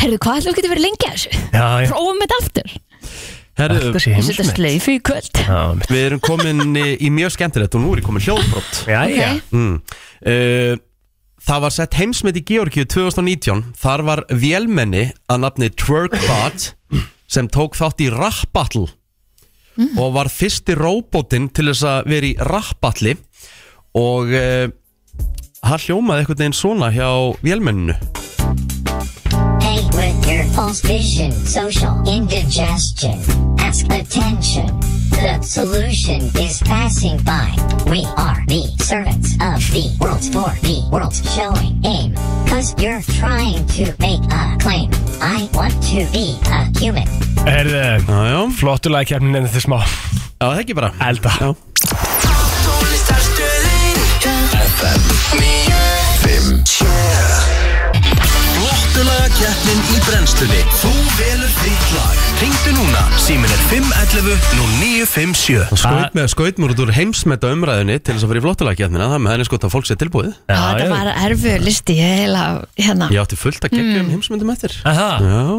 Herðu, hvað ætlum við getum verið lengi að þessu? já, já. Prófum þetta aftur Herðu, Þetta sé Ég setja heimsmynd. sleifu í kvöld Já, mitt. við erum komin í, í mjög skemmtilegt Og nú er ég komin hljóðbrott Já, Ok. já. mm. uh, Það var sett heimsmynd í Georgíu 2019 Þar var vélmenni að nafni Twerkbot sem tók þátt í rappbattle og var fyrsti róbótinn til þess að vera í rappbattli og uh, hann hljómaði einhvern veginn svona hjá vélmenninu Hey, with your false vision, social indigestion, ask attention. The solution is passing by. We are the servants of the world for the world, showing aim. Cut because you're trying to make a claim. I want to be a human. Herðu, flottulega kemnin en þetta smá Já, það ekki bara Elda Já. FM 9 Flottulega keppnin í brennstunni Þú velur þitt lag Ringdu núna, símin er 511 0957 Skaut með skautmur út úr heimsmeta umræðinni til þess að fara í flottulega getnina það með henni sko að fólk sé tilbúið Já, þetta var erfið listi, ég heila, hérna. Ég átti fullt að gegja um heimsmyndum eftir Aha.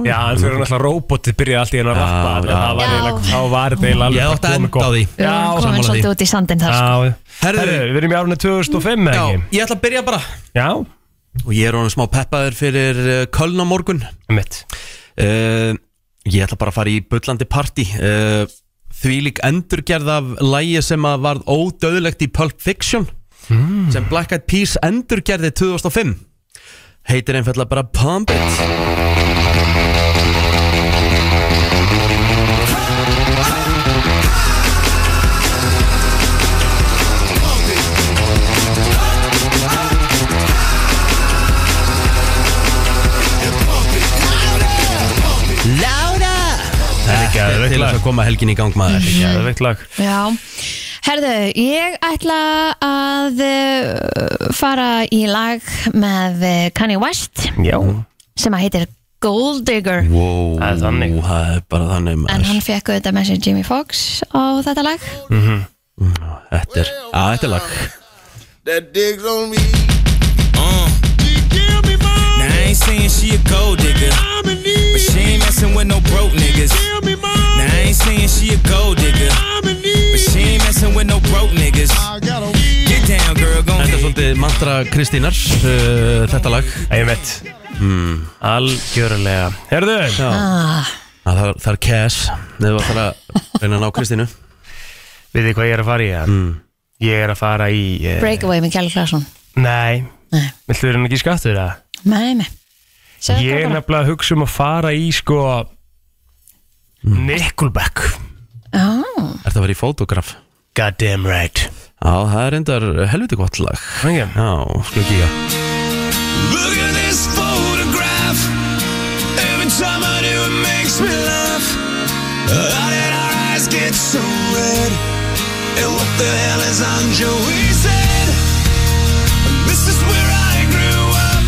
Já, en þegar náttúrulega robotið byrjaði allt í hennu að rappa þannig að það já. var eiginlega- Þá var þetta eiginlega Ég alveg átti að komið enda gott. á því. Við Já, erum komin sammála því svolítið út í sandin þar, sko. Já, herðu, við erum í árunni 2005 eða ekki? Ég ætla að byrja bara Já Og ég er honum smá peppaður fyrir uh, Köln á morgun Eh, Mitt Ég ætla bara að fara í bullandi party uh, Því lík endurgerð af lægi sem að varð ódöðlegt í Pulp Fiction Hmm. sem Black Eyed Peas endurgerði 2005 Heitir einfallega bara Pump It Lára Það er Þetta er geðveikt til lag. þess að koma helgin í gang maður Geðveikt lag Já, herðu, ég ætla að uh, fara í lag með uh, Kanye West Já sem að heitir Gold Digger Wow, Það er þannig. það er bara þannig en maður hann fekk auðvitað með sér Jimmy Fox á þetta lag Þetta er, að þetta er lag that digs on me. Uh. Now I ain't saying she a gold digger, but she ain't messing with no broke niggas. Now I ain't saying she a gold digger, but she ain't messing with no broke niggas. Get down, girl, gon' Þetta er svolítið mantra Kristínar uh, Þetta lag Ég veit mm. Algjörlega Herðu ah, Það er, það er cash Nefnum við ætlar að reyna að ná Kristínu Við þið hvað ég er að fara í það? Ég er að fara í eh, Breakaway með Kjell Klarsson Nei Nei. Viltu vera ekki skattur það? Nei, nei Segðu Ég það er bara. nefnilega að hugsa um að fara í sko Nickelback Já, Er það að vera í fotograf? God damn right Já, það er reyndar helviti gott lag Þannig að- Já, sko ekki ég Look at this photograph Every time I do it makes me laugh How did our eyes get so red And what the hell is on Joey's head This is where I grew up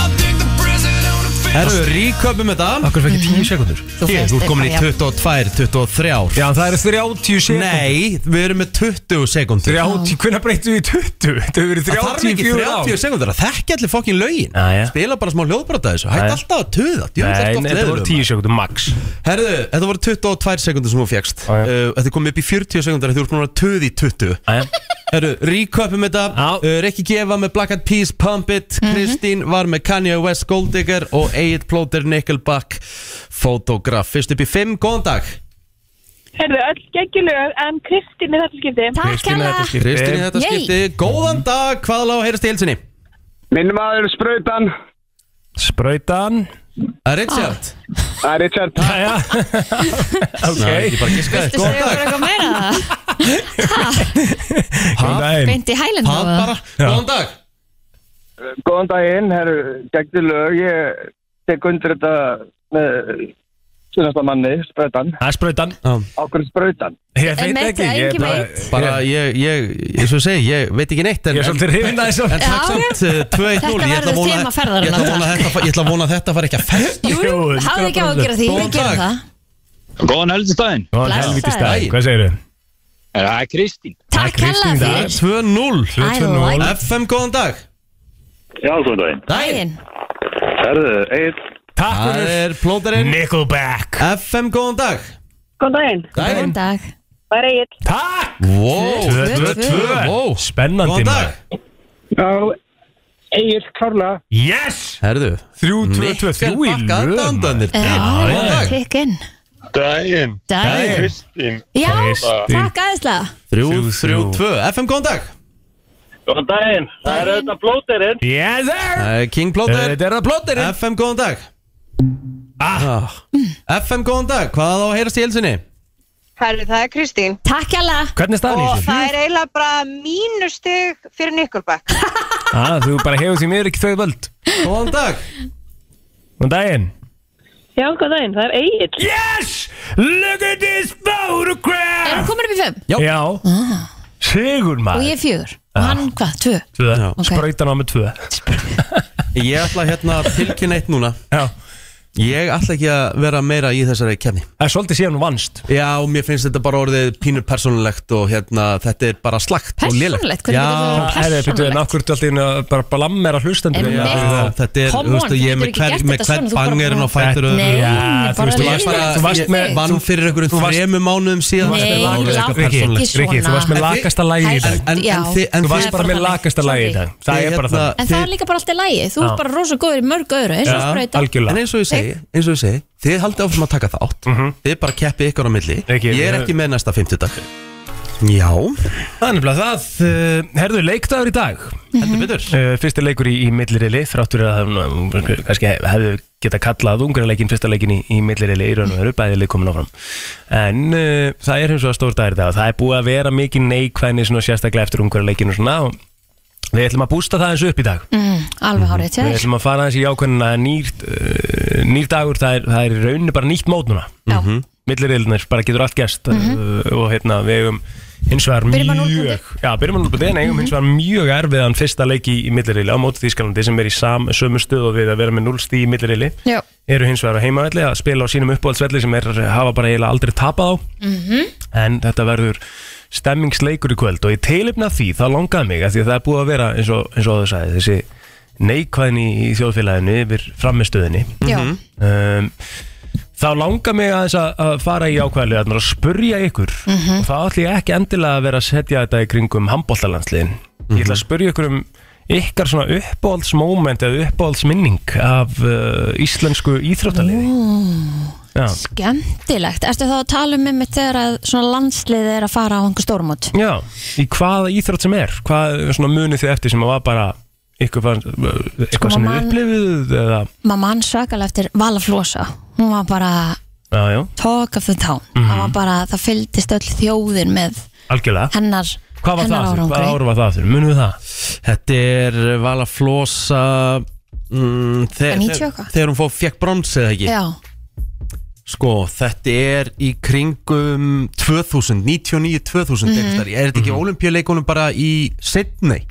I think the prison on a Herru, ríköpum þetta Akkur fækki Mhm. 10 sekundur þú Ég, fékkst Þú ert komin í eitthvað, 22, 23 ár Já, það eru 30 sekundur Nei, við erum með 20 sekundur 30, hvernig breyttu við í 20? Það hefur verið Það þarf ekki 34 ár 30 sekundur að þekki allir fokkin lögin Jæja. Spila bara smá hljóðbrota þessu Hætt Jæja. alltaf að töða djöfull ertu Nei, oft nei, þetta leiður voru um 10 sekundur max Herðu, þetta voru 22 sekundur sem þú fjækst Já, já. uh, Þetta kom upp í 40 sekundur Þú ert núna töð í 20 Jæja. Herru, ríköpum þetta Já. uh, Rikki Gefa með Black Eyed Peas, Pump It Mhm. Kristín var með Kanye West, Goldigger Og Egil Plóter, Nickelback Fotograf, fyrst upp í 5, góðan dag Herðu, öll geggjulög, en Kristín í þetta skipti. Takk Kristín, þetta hella er skipti. Kristín í þetta Yay. skipti, góðan Mhm. dag Hvað lág að heyrast í helsinni? Minnum aður sprautan Sprautan Að Eh, Richard Ah. Það er Richard Jæja, ok Ná, ég bara giskaði. Þú Góðan segir okkur dag eitthvað meira Góðan daginn Beint í hælinn Pað bara, góðan dag Góðan daginn, herru, gegndi lög Ég tek undir þetta með sunnasta manni, sprautan Það er sprautan Já. Ákveður sprautan Ég Ég veit veit ekki það, Ég er engin bara- veit. Bara ég, ég, eins og ég segi, ég veit ekki neitt en- Ég er svolítið hrifin að þessu En Já, takk samt uh, 2-1-0 Þetta Ég ætla verður að vona- þema ferðarinnar, ég ætla að vona takk. þetta fa- Ég ætla að vona að þetta fari ekki að festa Jú, jú, hafðu ekki á að gera því, Góðan við gerum dag. það Góðan helgistæðin Góðan Blessaður. helviti stæð Hvað segir þau? Það er Kristín Takk hella Kristín, fyrir 2-0 I like FM, góðan dag Já, góðan daginn. daginn Herðu, Egil, Takk Það fyrir er plóterinn Nickelback FM, góðan dag Góðan daginn. Daginn. Góðan dag Það er eigin. Takk Wow, Tvö, tvö, tvö. wow. Spennandi Góðan dag maður Já, Egil, klárlega Yes Herðu 3-2-2 Nikkel Þrjú í bakka lögum aðdáendanir. Góðan Já, dag kikk inn Daginn. Daginn Kristín. Já, Kristín. takk aðeinslega 3-3-2 FM, góðan dag Góðan daginn. Það er auðvitað blóterinn. Yes sir Það er King Plóter Þetta er að plóttir FM, góðan dag Ah. FM, góðan dag Hvað á að heyrast í helsinni? Herri, það er Kristín Takk hella Hvernig er staðan í og þessu? það er eiginlega bara mínustug fyrir Nikkelbæk. Ah, Þú bara hefur því miður ekki þau völd Góðan dag Góðan daginn Já, góð daginn, það er Egil Yes! Look at this photograph Er hann komin upp í fimm? Já, Já. Sigur Og maður ég er fjögur Og Já. hann hvað, tvö? Tvö, Ok. sprautan á með tvö Ég ætla hérna að tilkynna eitt núna Já Ég ætla ekki að vera meira í þessari kefni Það er svolítið síðan hún vannst Já, mér finnst þetta bara orðið pínur persónulegt og hérna, þetta er bara slagt og lélegt Persónulegt? Hvernig getur það verið Herri, byrju, en af hverju ertu alltaf inn að bara balammera hlustendur hérna. Já, þetta er, Come þú veist, ég on, er getur með ekki hvern- gert með þetta hvern svona, þú bara- bangerinn á fætur öðrum. Nei, Já, þú bara veist, þú varst- lélegt. þú varst með- vann fyrir einhverjum þú varst- þremur mánuðum síðan Þetta Nei, er bara orðið láttu eitthvað ekki persónulegt. svona. Rikki, þú varst með En þið- lakasta lagið í dag. En- en- Já. en þið- en Þú varst þið- bara með lakasta lagið í dag. Það Þið er bara hérna- þannig. En það er líka bara alltaf lægi Þú Já. ert bara rosa góður í mörg öðru eins og Já, sprauta En eins og ég segi, eins og ég segi Þið haldið áfram að taka þátt Mhm. Þið bara keppið ykkur á milli Ég er ekki með næsta 50 dag Já Það er nefnilega það, uh, herðu leikdagur í dag Mhm. Heldur betur uh, Fyrsti leikur í, í millirili, þráttur að það um, kannski hefðu geta kallað ungarleikin fyrsta leikin í, í millirili í raun og veru bæðið leikum áfram En uh, það er hins vegar stór dagur í dag og það er búið að vera mikið neikvæðni svona sérstaklega eftir ungarleikin og svona og við ætlum að bústa það eins upp í dag mm, Alveg hárið til Við þér ætlum að fara aðeins í ákveðina nýrt, uh, nýr dagur, það er, það er í rauninni bara nýtt mót núna Já. Mhm. Millirilinir, bara getur allt gerst uh, og hérna við eigum hins vegar Byrjum á mjög Já, byrjum að núlbúti, en eigum hins vegar mjög erfiðan fyrsta leik í, í millirili á móti Þískalandi sem er í sam, sömu stuð og við að vera með 0 stíð í millirili Já. eru hins vegar á heimavelli að spila á sínum uppáhaldsvelli sem er, hafa bara eiginlega aldrei tapað á Mhm. en þetta verður stemmingsleikur í kvöld og ég teilifna því, það langaði mig að því að það er búið að vera eins og, eins og þú sagði þessi neikvæðin í, í þjóðfélaginu yfir frammistöðinni Já. um, þá langaði mig aðeins að, að fara í ákvæðlega að spurja ykkur Mhm. og þá ætlum ég ekki endilega að vera að setja þetta í kringum handbóltalandsliðin ég Mhm. ætla að spurja ykkur um ykkar svona uppáhaldsmoment eða uppáhaldsminning af uh, íslensku íþróttaliði Já. Gemtilegt Ertu þá að tala um einmitt þegar að svona landslið er að fara á einhver stórmót Já, í hvaða íþrótt sem er hvað svona munið þið eftir sem að var bara ykkur fann, Sko, eitthvað sem þið man- upplifið eða, Mamma hann svakalega eftir Vala Flosa Hún var bara já, já, talk of the town Mhm. Það var bara, það fylgdist öll þjóðin með algjörlega hennar Hvað var það hennar aftur? árangri. Hvaða ár var það aftur? Munum við það? Þetta er Vala Flosa mm, Er þegar, 90 þegar- eitthvað? þegar hún fór fjekk brons eða ekki Já, Sko, þetta er í kringum 2000, 99-2000 Mhm. mm -hmm. Er þetta ekki mm olimpíuleikunum bara í Sydney?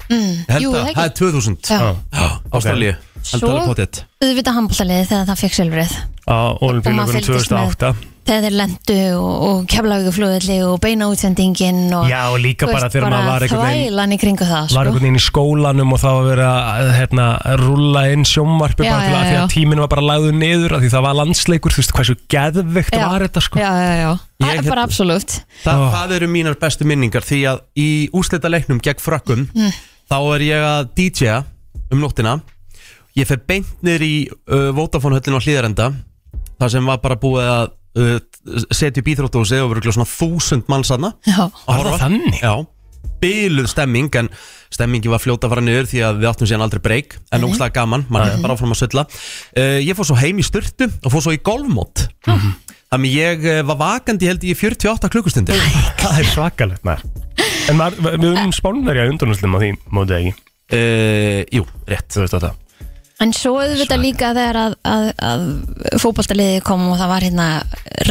Ég Mm, held jú, að- það ekki. Það er 2000 Já. Já, Ástralíu Held Svo- alveg potið auðvitað handbóltaliði þegar það fekk silfrið Á Og olimpíuleikunum maður fylgdist með. 2008 þegar þeir lendu og, og keflauguflöðli og beina útsendingin og, Já, og líka þú bara þegar maður var einhvern veginn- þvælan í kringu það sko. Var einhvern veginn í skólanum og það var verið að hérna, rúlla inn sjónvarpi Já, bara til já, að því já. að tíminn var bara lagður niður af því það var landsleikur, þú veist hversu geðveikt Já, var þetta sko já, já, já. Ég Ég, hérna- bara absolutt Þa, Það eru mínar bestu minningar því að í úslita leiknum gegn frökkum Mm. þá er ég að DJ-a um nóttina ég fer beint niður í uh, Vodafone höllin á hlýðarenda þar sem var bara búið að uh, setja upp íþróttúsi og verið svona þúsund manns aðna Já. Var það þannig? Já, byluð stemming en stemmingi var fljóta að fara niður því að við áttum síðan aldrei breyk en Nei. ógslag gaman, mann Já, já. er bara áfram að sölla uh, Ég fór svo heim í styrtu og fór svo í golfmót Þannig ég eh, var vakandi held ég í 48 klukkustundir Það er svakalegt maður En maður, við erum spánverja undurnarslum á því mótið ekki uh, Jú, rétt Þú veist þetta en svo auðvitað líka þegar að, að, að fótbóltaliði kom og það var hérna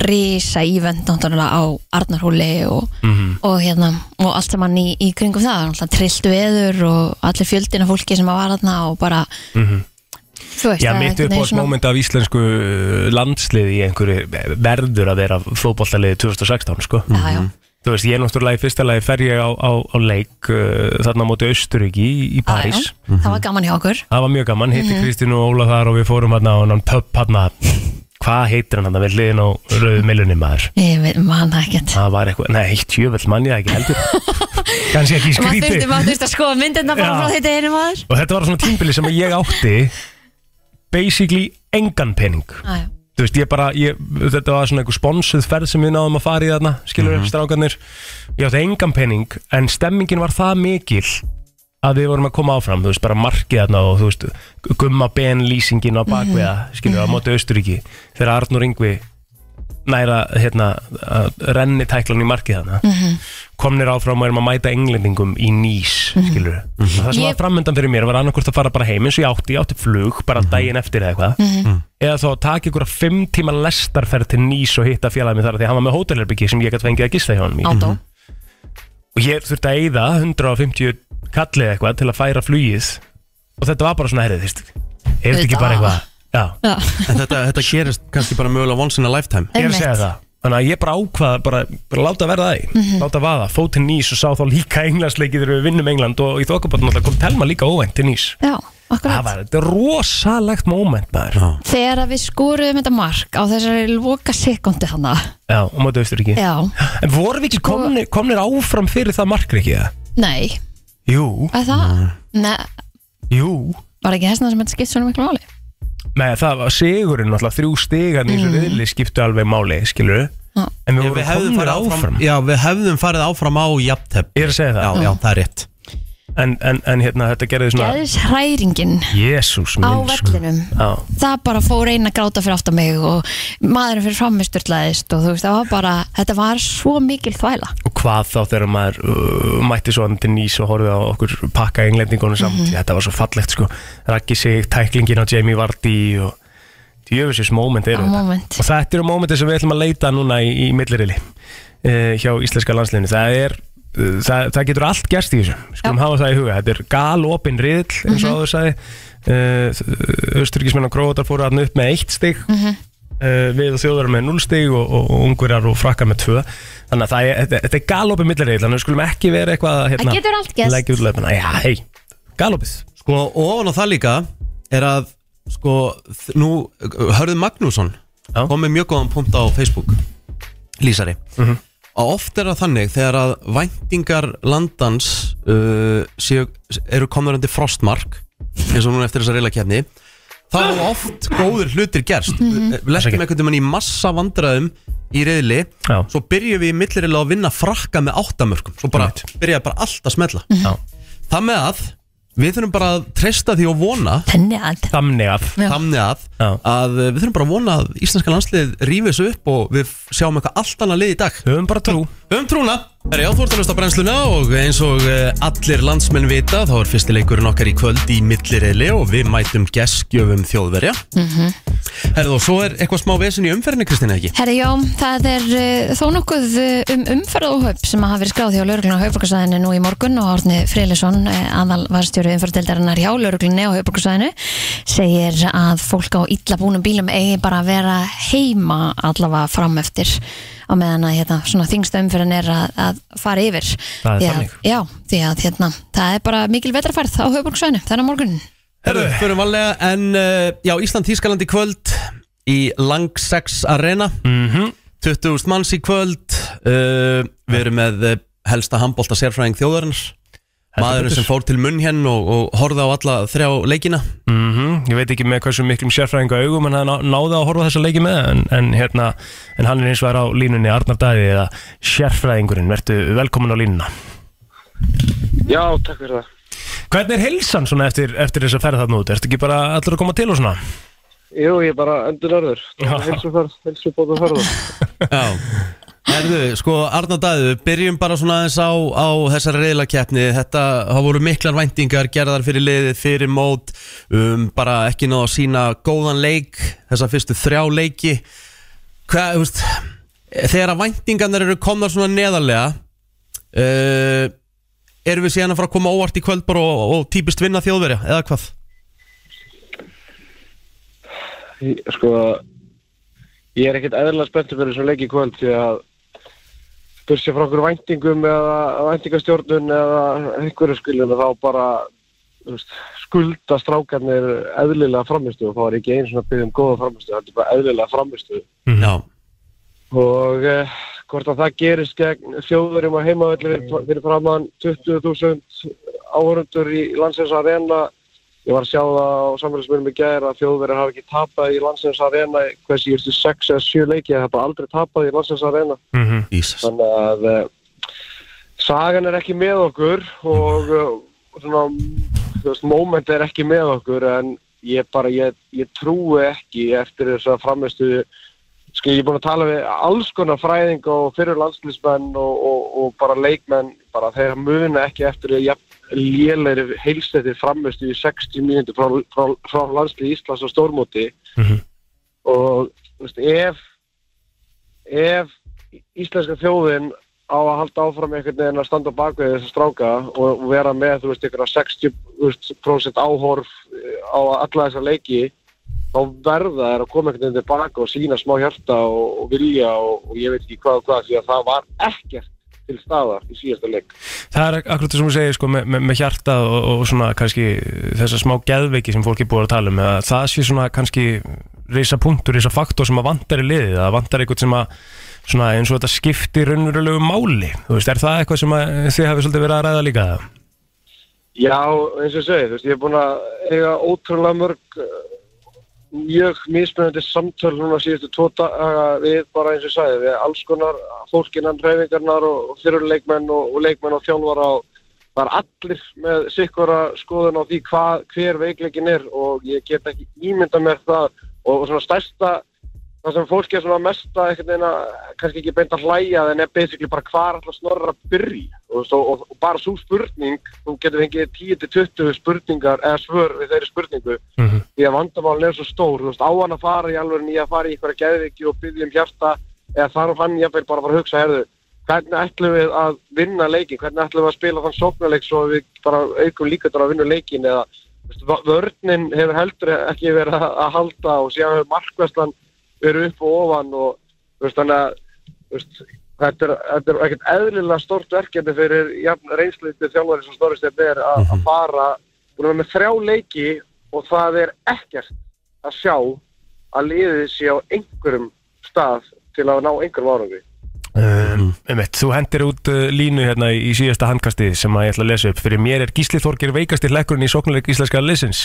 risa ívend náttúrulega á Arnarhúli og, Mhm. og hérna og allt saman í, í kringum það, alltaf trillt veður og allir fjöldina fólki sem að var þarna og bara, þú veist Mhm. það Já, er mitt einhvern upp veginn á svona- moment af íslensku uh, landsliði í einhverju verður að vera fótballtaliði 2016 sko. Já, já. Þú veist, ég náttúrulega í fyrsta lagi fer ég á, á, á leik uh, þarna á móti Östuríki í, Já, í já. París Mhm. það var gaman hjá okkur Það var mjög gaman, hitti Mhm. Kristín og Óla þar og við fórum hann á hann pub hann Hvað heitir hann hann við liðin á rauðu millunni maður? ég veit- man það ekkert Það var eitthvað, nei, tjöfell mann ég það ekki heldur Kansi ekki maður skríti þurfti, maður þurfti að skoða myndina bara Ah, Já. frá þetta einu maður Og þetta var svona tímbili sem ég átti basically engan pening Já, já. þú veist, ég bara, ég, þetta var svona einhver sponsuð ferð sem við náðum að fara í þarna skilur mm Mhm. strákarnir ég átti engan pening, en stemmingin var það mikil að við vorum að koma áfram þú veist, bara markið þarna og þú veist Mhm. gumma ben lýsingin á bakveða, skilur, á móti Östuríki þegar Arnur Ingvi næra hérna, að renni tæklan í markið hana Mhm. komnir áfram og erum að mæta englendingum í nýs Mhm. skilur það sem Ég- var framöndan fyrir mér var annarkvort að fara bara heim eins og ég átti, ég átti flug bara daginn eftir eða eitthvað Mhm. eða þá taka ykkur að fimm tíma lestarferð til nýs og hitta félagið mér þar af því að hann var með hótelherbyggi sem ég gæti fengið að gista hjá hann Ádó. og ég þurfti að eyða 150 kallið eitthvað til að færa flugið og þetta var bara svona herrið, þvist er þetta ekki bara eitthvað já Já. En þetta, þetta gerist kannski bara mögulega once in a lifetime Ég er að segja það Þannig að ég bara ákvaða, bara, bara láta verða það í Mhm. Láta vaða, fótinn nýs og sá þá líka englandsleikið þegar við vinnum England og í þokkabotn alltaf kom Telma líka óvænt til nýs Já, akkurat Það var þetta er rosalegt moment maður Já, Þegar að við skoruðum þetta mark á þessari loka sekundi hana og mótið austur ekki Já, En vorum við ekki komnir, komnir áfram fyrir það markri ekki það? nei, Jú, að það Nei, jú var ekki þessna sem þetta skipt svona miklu máli Nei, það var sigurinn náttúrulega þrjú stigan í þessu Mhm. riðli skiptu alveg máli, skilur Já. En við Já, vorum við hefðum komnir farið áfram, áfram, Já, við hefðum farið áfram á jafntefn Ég er að segja það Já, já, það er rétt En, en, en hérna, þetta gerði svona Geðis hræringin Jésús á minn sko. vellinum Já. Það bara fór einn að gráta fyrir aftan mig og maðurinn fyrir frammeisturlaðist og þú veist, það var bara, þetta var svo mikil þvæla og hvað þá þegar maður uh, mætti svo hann til nýs og horfið á okkur pakka englendingunum samt, Mhm. þetta var svo fallegt sko, Raggi sig, tæklingin á Jamie Vardy og djöfisins moment á eru þetta moment og þetta eru mómentin sem við ætlum að leita núna í, í millirili uh, hjá íslenska landsliðinu það er uh, Það, það getur allt gerst í þessu Við skulum hafa það í huga, þetta er galopin riðl eins og Mhm. áður sagði uh, Östuríkismenn og Króatar fóru hann upp með eitt stig Mhm. uh, við og þjóðar með 0 stig og, og, og ungverjar og frakkar með 2 þannig að það er, þetta, þetta er galopið milliregl þannig að við skulum ekki vera eitthvað að, hérna, Það getur allt gerst. leggja út löpuna, já, hei, galopið Sko, ofan á það líka er að sko, þ- nú, Hörður Magnússon kom með mjög góðan punkt á Facebook Lýsari að oft er það þannig þegar að væntingar landans uh, séu, eru komður undir frostmark eins og núna eftir þessa reyla kefni þá hafa oft góður hlutir gerst Mhm. við lettum einhvern veginn í massa vandræðum í reyðli, Já. svo byrjum við í millirila að vinna frakka með áttamörkum svo bara byrjaði bara allt að smetla Mhm. Já. það með að við þurfum bara að treysta því og vona þannig að, þannig að, Já. þannig að, að við þurfum bara að vona að íslenska landslið rífi þessu upp og við sjáum eitthvað allt annað lið í dag Höfum bara trú Höfum trúna Það er áþvortanust á brennsluna og eins og eh, allir landsmenn vita þá er fyrsti leikurinn okkar í kvöld í millireili og við mætum geskjöfum þjóðverja Mhm. Herðu og svo er eitthvað smá vesen í umferðinu Kristina ekki? Herri, já, það er uh, þó nokkuð uh, um umferðóhaupp sem hafa verið skráð hjá lauruglun á hauparkarsæðinu nú í morgun og Árni Friðlisson, uh, aðal varstjóru umferðildarinnar hjá lauruglunni á hauparkarsæðinu, segir að fólk á illa búnum bílum eigi bara að vera heima allavega fram eftir á meðan að hérna, svona þingsta umferðin er að, að fara yfir. Það er Því að- þannig. Já, því að hérna, það er bara mikil vetrafærð á hauparkarsæðinu þennan morgun. Herðu, förum vanlega en uh, já, Ísland-Þískaland í kvöld í Langsex Arena mm 20.000 manns í kvöld uh, við erum með eh, helsta handbólta sérfræðing þjóðarins maðurinn betur. sem fór til munn henn og, og horfði á alla þrjá leikina Mm Ég veit ekki með hversu miklum sérfræðinga augum en hann ná- náði að horfa á þessa leiki með en, en, hérna, en hann er eins og er á línunni Arnar Dæði eða sérfræðingurinn vertu velkomin á línuna Já, takk fyrir það. Hvernig er heilsan svona eftir, eftir þess að ferða þarna út? Ertu ekki bara allir að koma til og svona? Jú, ég er bara endur örður. Helsufærð, helsubóta ferða. Já Herðu, sko Arna Dæðu, byrjum bara svona aðeins á, á þessar reyðlakeppni Þetta, það voru miklar væntingar gerðar fyrir liðið, fyrir mót um, bara ekki náðu að sína góðan leik þessa fyrstu þrjá leiki Hvað, þú veist þegar að væntingarnar eru komnar svona neðarlega uh, erum við síðan að fara að koma óvart í kvöld bara og, og típist vinna þjóðverja, eða hvað? Sko, ég er ekkert eðlilega spenntur fyrir þessum leik í kvöld því að börsja frá okkur væntingum eða væntingastjórnun eða einhverju skiljum þá bara þú veist, skulda strákarnir eðlilega framistu og þá er ekki einu svona byggjum góða framistu, það er bara eðlilega framistu. Mhm. Já og eh, hvort að það gerist gegn þjóðurum að heimavelli fyrir- fyrir framann 20.000 áhörundur í landsins arena ég var að sjá það á samfélagsmyndum í gæðir að þjóðverðir hafa ekki tapað í landsins arena í hvað síðustu 6 eða 7 leiki það hafa bara aldrei tapað í landsins arena Mhm. Jesus. þannig að eh, sagan er ekki með okkur og eh, svona þú veist, moment er ekki með okkur en ég bara, ég, ég trúi ekki eftir þess að framistu Sko, ég er búin að tala við alls konar fræðing og fyrir landslýsmenn og, og, og bara leikmenn, bara þeir muna ekki eftir að jafn lélegri heilstætti framistu í 60 mínúti frá, frá, frá landslýð Íslands og stórmóti og þú veist, ef ef íslenska þjóðin á að halda áfram einhvern veginn að standa á bakvið þessu stráka og vera með þú veist ykkur 60% áhorf eh, á alla þessa leiki þá verða þær að koma einhvern veginn tilbaka og sína smá hjarta og, og vilja og, og ég veit ekki hvað og hvað því að það var ekkert til staðar í síðasta leik Það er akkurat það sem þú segir sko, með, með, með hjarta og, og svona kannski þessa smá geðveiki sem fólk er búið að tala um að það sé svona kannski reysa punktur, reysa faktor sem að vantar í liðið að vantar eitthvað sem að svona eins og þetta skiptir raunverulegu máli þú veist, er það eitthvað sem að þið hafi svolítið verið að ræða líka það? Já, eins og ég segi, þú veist, ég er búin að eiga ótrúlega mörg eh, mjög mismunandi samtöl núna síðustu tvo daga við bara eins og ég sagði, við alls konar fólkinan reyfingarnar og fyrirleikmenn og, og leikmenn og þjálfara og það er allir með sikkura skoðun á því hvað, hver veikleikin er og ég get ekki ímynda mér það og, og svona stærsta það sem fólk er svona mesta einhvern veginn að kannski ekki beint að hlæja en er basically bara hvar alltaf snorra að byrja og, svo, og, og bara svo spurning þú getur fengið 10-20 spurningar eða svör við þeirri spurningu því að vandamálun er svo stór þú veist, á hann að fara í alveg nýja að fara í einhverja geðviki og byggja um hjarta eða þarf hann jafnvel bara að fara að hugsa herðu, hvernig ætlum við að vinna leikin hvernig ætlum við að spila þann sóknarleik svo við bara aukum líkandar að vinna leikin eða þú veist, v- vörnin hefur heldur ekki verið að- að halda og síðan hefur markvæslan verið upp og ofan og þú veist, þannig að þú veist, þetta er, þetta er ekkert eðlilega stórt verkefni fyrir jafn reynsluðið þjálfari sem stórist þetta er að, að fara búin að vera með þrjá leiki og það er ekkert að sjá að liðið sé á einhverjum stað til að ná einhverjum árangri Um, Mm. einmitt, þú hendir út uh, línu hérna í í síðasta handkasti sem að ég ætla að lesa upp fyrir mér er Gísli Þorgir veikasti hlekkurinn í sóknuleik íslenska liðsins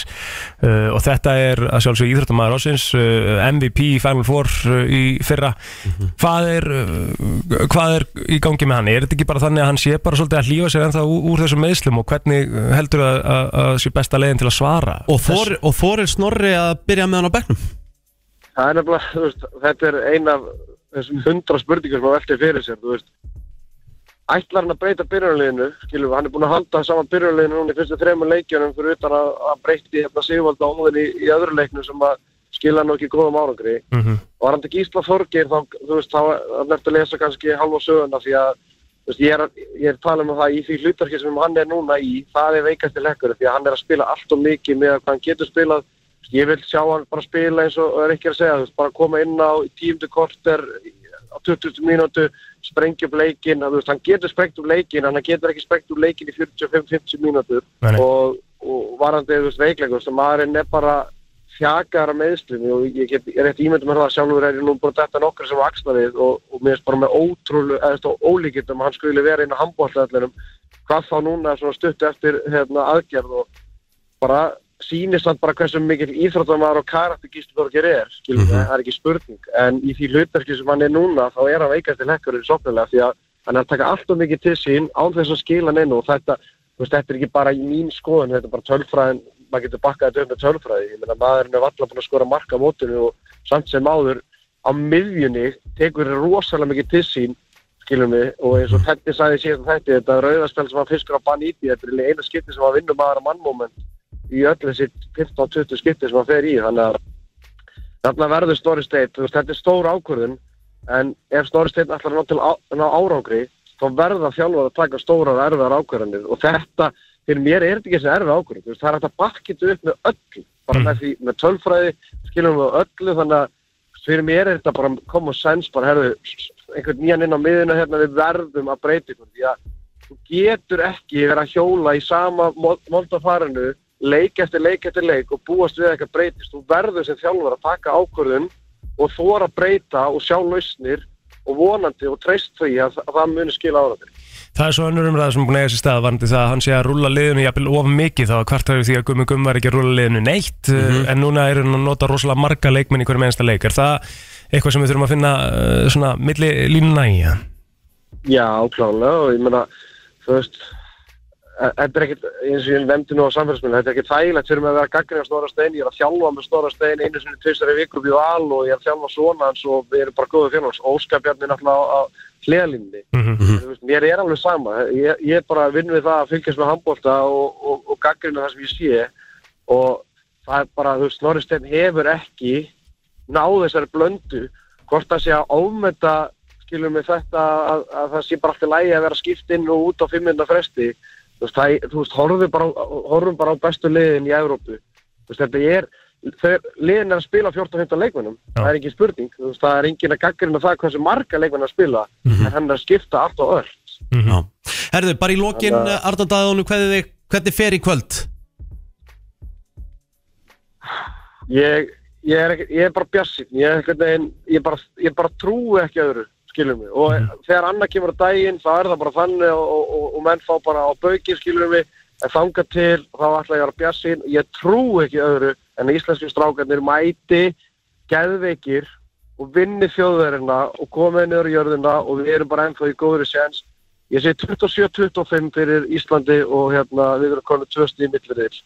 uh, og þetta er að sjálfsög íþróttamæður ásins uh, MVP í Final Four uh, í fyrra Mhm. hvað, er, uh, hvað er í gangi með hann er þetta ekki bara þannig að hann sé bara svolítið að hlífa sér ennþá úr, úr þessum meðslum og hvernig uh, heldur að, að, að sé besta leiðin til að svara Og þor- og þorir snorri að byrja með hann á bekknum Það er nefnilega, þú veist, þetta er ein af þessum hundra spurningum sem að velti fyrir sér, þú veist. Ætlar hann að breyta byrjunarliðinu, skilum við, hann er búin að halda saman byrjunarliðinu núna í fyrstu þremur leikjunum fyrir utan að hann breytti hérna Sigvald áður í, í öðru leiknum sem að skila hann ekki góðum árangri. Og hann til Gísla Þorgir, þá, þú veist, þá er nefnt að lesa kannski halva söguna því að, þú veist, ég er, að- ég er talað um það í því hlutarki sem hann er núna í, það er veikasti lekkur því að hann er að spila allt og mikið með hvað hann getur spilað ég vil sjá hann bara spila eins og er ekki að segja, þú veist, bara koma inn á í tíundu korter á 20 mínútu, sprengja upp leikin þú veist, hann getur sprengt upp leikin, en hann getur ekki sprengt upp leikin í 45-50 mínútur Nei. og, og varandi, þú veist, veikleikur sem maðurinn er bara þjakaðar af meðslum og ég get, ég er eftir ímyndum með það að sjálfur er ég nú bara þetta nokkru sem axlarið og, og mér er bara með ótrúlu, eða þú veist, ólíkindum að hann skuli vera inn á handbóllallinum hvað þá núna svona stutt eftir hérna, aðgerð og bara sýnist hann bara hversu mikil íþróttamæður og karakter Gísli Þorgir er skilur, mm það er ekki spurning en í því hlutarki sem hann er núna þá er hann veikast til hekkur sopnilega því að hann er að taka allt og mikið til sín án þess að skila hann inn og þetta, þú veist, þetta er ekki bara í mín skoðun þetta er bara tölfræðin, maður getur bakkað þetta upp með tölfræði, ég meina maðurinn er valla búin að skora marka á mótinu og samt sem áður á miðjunni tekur rosalega mikið til sín skilum við, og eins og þetta sagði síðan þetta, þetta rauðarspel sem hann fiskur á bann í því, þetta er eina skipti sem hann vinnur maður að mannmoment í öllu sitt 15-20 skipti sem hann fer í þannig að þarna verður Snorri Steinn, þú veist, þetta er stór ákvörðun en ef Snorri Steinn ætlar að ná til á- ná árangri, þá verða þjálfur að taka stórar erfiðar ákvörðanir og þetta, fyrir mér er þetta ekki þessi erfið ákvörðun þú veist, það er hægt að bakka þetta upp með öllu bara með því, með tölfræði, skilum við og öllu, þannig að fyrir mér er þetta bara common sense, bara herðu einhvern nýjan inn á miðina hérna, við verðum að breyta ykkur, því að þú getur ekki verið að hjóla í sama moldafarinu, leik eftir leik eftir leik og búast við að eitthvað breytist þú verður sem þjálfur að taka ákvörðun og þóra breyta og sjá lausnir og vonandi og treyst því að, að það muni skila árangri Það er svo önnur umræða sem er búin að eiga sér stað varandi það að hann sé að rúla liðinu jafnvel of mikið þá að kvartar við því að Gummi Gummi var ekki að rúla liðinu neitt Mhm. eh, en núna er hann að nota rosalega marga leikmenn í hverjum einasta leik er það eitthvað sem við þurfum að finna uh, svona milli línuna í ja? Já, klálega og ég meina þú veist þetta er ekkert, eins og ég nefndi nú á samfélagsmyndinu, þetta er ekkert þægilegt fyrir mig að vera gaggrinni á Snorra Stein, ég er að þjálfa með Snorra Stein einu sinni tvistar í viku upp í val og ég er að þjálfa svona hans og við erum bara góðu félags, óskapjarnir náttúrulega á, á hliðalínni. Þú veist, Mér er alveg sama, ég, ég bara vinn við það að fylgjast með handbólta og, og, og gaggrina það sem ég sé og það er bara, þú veist, Snorri Steinn hefur ekki náð þessari blöndu hvort það sé að ámeta skilur mig þetta að, að það sé bara allt í lægi að vera skipt inn og út á fimmjönda fresti þú veist, það, þú veist horfum, bara, á- horfum bara á bestu liðin í Evrópu þú veist, þetta er þeir, liðin er að spila 14-15 leikmennum það er engin spurning, þú veist, það er engin að gaggrina það hversu marga leikmenn að spila en hann er að skipta allt og öll Já. Herðu, bara í lokin Þannig að- Arda Daðónu, hvernig, hvernig fer í kvöld? ég, ég, er, ekki- ég er bara bjassinn ég, er einhvern veginn- ég, bara, ég bara trúi ekki öðru skilur mig og þegar annað kemur á daginn þá er það bara þannig og, og, og, og menn fá bara á bauki skilur mig en þanga til þá ætla ég að vera bjassinn ég trúi ekki öðru en að íslenski strákarnir mæti geðveikir og vinni þjóðverðina og komið niður í jörðina og við erum bara ennþá í góðri séns ég segi 27-25 fyrir Íslandi og hérna við erum konið tvö stíð mittverðil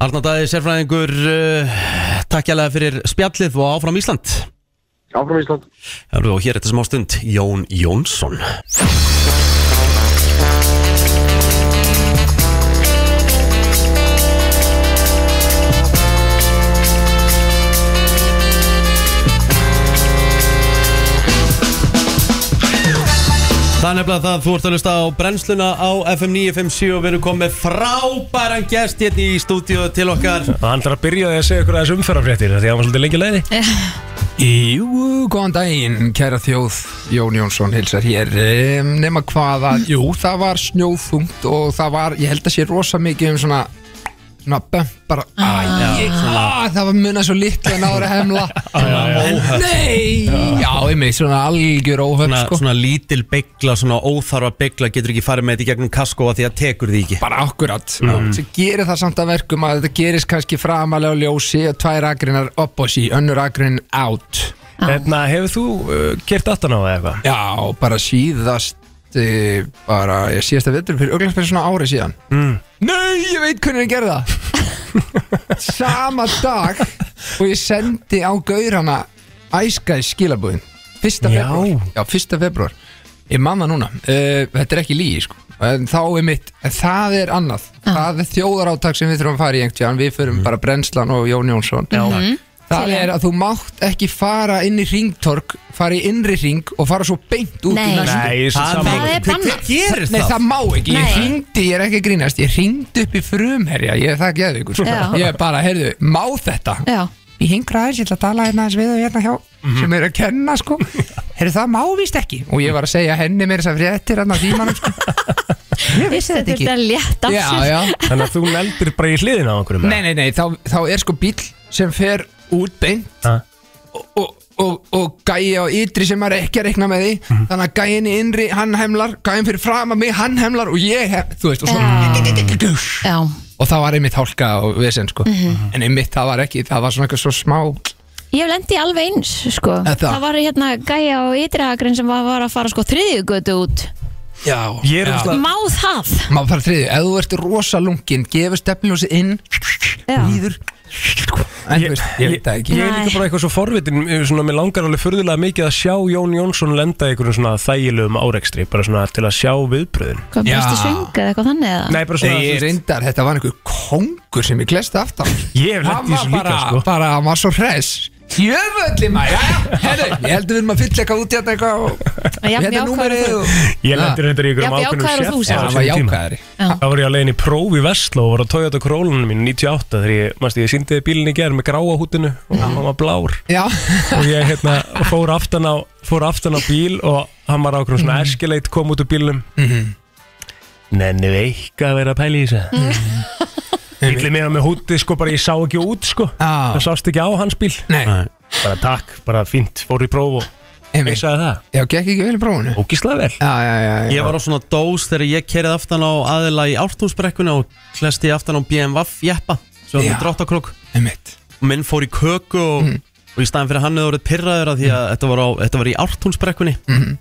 Arna Daði, sérfræðingur, uh, takk jæglega fyrir spjallið og áfram Ísland. Áfram Ísland. Herðu, og hér eftir smá stund, Jón Jónsson. Það er nefnilega það, þú ert að hlusta á brennsluna á FM 957 og við erum komið frábæran gest hérna í stúdíu til okkar Hann ætlar að byrja á því að segja ykkur aðeins umferðarfréttir Því að hann var svolítið lengi leiði Jú, góðan daginn, kæra þjóð Jón Jónsson hilsar hér um, nema hvað að, jú, það var snjóþungt og það var, ég held að sé rosa mikið um svona svona bömpar ah, það var munað svo litlu en ára hemla Ah, óhöpp. Nei, já, einmitt, svona algjör óhöf svona, sko. svona lítil byggla, svona óþarfa byggla getur ekki farið með þetta í gegnum kaskóa því að tekur því ekki Bara akkurat Mm. sem gerir það samt að verkum að þetta gerist kannski framalega á ljósi og tvær agrinar upp á sí, önnur agrin out Hérna, hefur þú eh, uh, kert aftan á það eitthvað? Já, bara síðast uh, bara, ég síðast að vetur fyrir auðvitað fyrir svona ári síðan mm. Nei, ég veit hvernig ég gerði það Sama dag og ég sendi á gaurana æskæði skilabúðin Fyrsta Já. februar Já, fyrsta februar Ég man það núna uh, Þetta er ekki lígi sko En þá er mitt, en það er annað Það er þjóðaráttak sem við þurfum að fara í einhvern tíðan Við förum bara Brennslan og Jón Jónsson Já, Mhm. Það er að þú mátt ekki fara inn í ringtork, fara í innri ring og fara svo beint út Nei. í næstu Nei, ég sé Það sammála. er Hver- bannað. hver gerir Nei, það? það má ekki, Nei. ég hringdi, ég er ekki að grínast Ég hringdi upp í frumherja, ég er það geði ykkur Já. Ég er bara, heyrðu, má þetta? Já. Ég hingra aðeins, ég ætla að tala hérna aðeins við og hérna hjá Mhm. sem er að kenna, sko Heyrðu, það má víst ekki Og ég var að segja henni mér þess að fréttir hann á tímanum, sko Ég vissi þetta ekki Þetta er létt af Já, sér já Þannig að þú neldir bara í hliðina á einhverjum Nei, nei, nei, þá, þá er sko bíl sem fer út beint og, og, og, og gæi á ytri sem maður er ekki að rekna með því Mhm. þannig að gæin í innri, hann hemlar gæin fyrir fram að mig, hann hemlar og ég hef, þú veist, og svo Já. og það var einmitt hálka og vesen sko Mhm. en einmitt það var ekki, það var svona eitthvað svo smá Ég hef lendið alveg eins sko. Eða það? Það var hérna gæja á ytrihagrinn sem var, var að fara sko þriðjugötu út Já, ég er Má það? maður fara þriðju, ef þú ert rosa lungin gefur stefnljósi inn líður en, ég, veist, ég veit það ekki Ég er líka bara eitthvað svo forvitin eh, svona, Mér langar alveg furðulega mikið að sjá Jón Jónsson lenda í einhverjum svona þægilegum árekstri Bara svona til að sjá viðbröðin Hvað bresti svinga eða eitthvað þannig eða? Nei, bara svona Ég þú veist- reyndar, þetta var einhver kongur sem ég glesti aftan Ég hef lent í þessu líka, bara, sko. bara, hann var svo hress Jöfnvöldi maður, já, herru Ég heldur við erum að fylla eitthvað út í þetta eitthvað og- jafn Hérna er jákvæður númerið þú. og- Ég lendir reyndar í Jafn einhverjum ákveðnum jákvæður og þú, sjef sagði hann. Já, hann var jákvæðari. Það var ég að leiðin í próf í Vestló og var á Toyota Corollanum mín 98 þegar ég, mannstu, ég síndi bílinni í gerð með gráa hútinu og hann var blár Já. og ég hérna, fór, aftan á, fór aftan á bíl og hann var ákveðum svona eskeleit kom út úr bílnum Nennu eitthvað að vera að pæla í þessu Bílið mér með húti sko bara ég sá ekki út sko ah. Það sást ekki á hans bíl Nei. Bara takk, bara fínt, fór í próf og Einmitt. ég sagði það Já, gekk ekki vel í prófunu Ógíslega vel já, já, já, Ég var á svona dós þegar ég kerið aftan á aðila í ártúnsbrekkuna og klesti aftan á BMW jeppa sem var Já. með dráttakrok Einmitt. og minn fór í köku og, Mhm. og í staðin fyrir hann Mhm. hefur orðið pyrraður að því að þetta, var á, þetta var í ártúnsbrekkunni mm.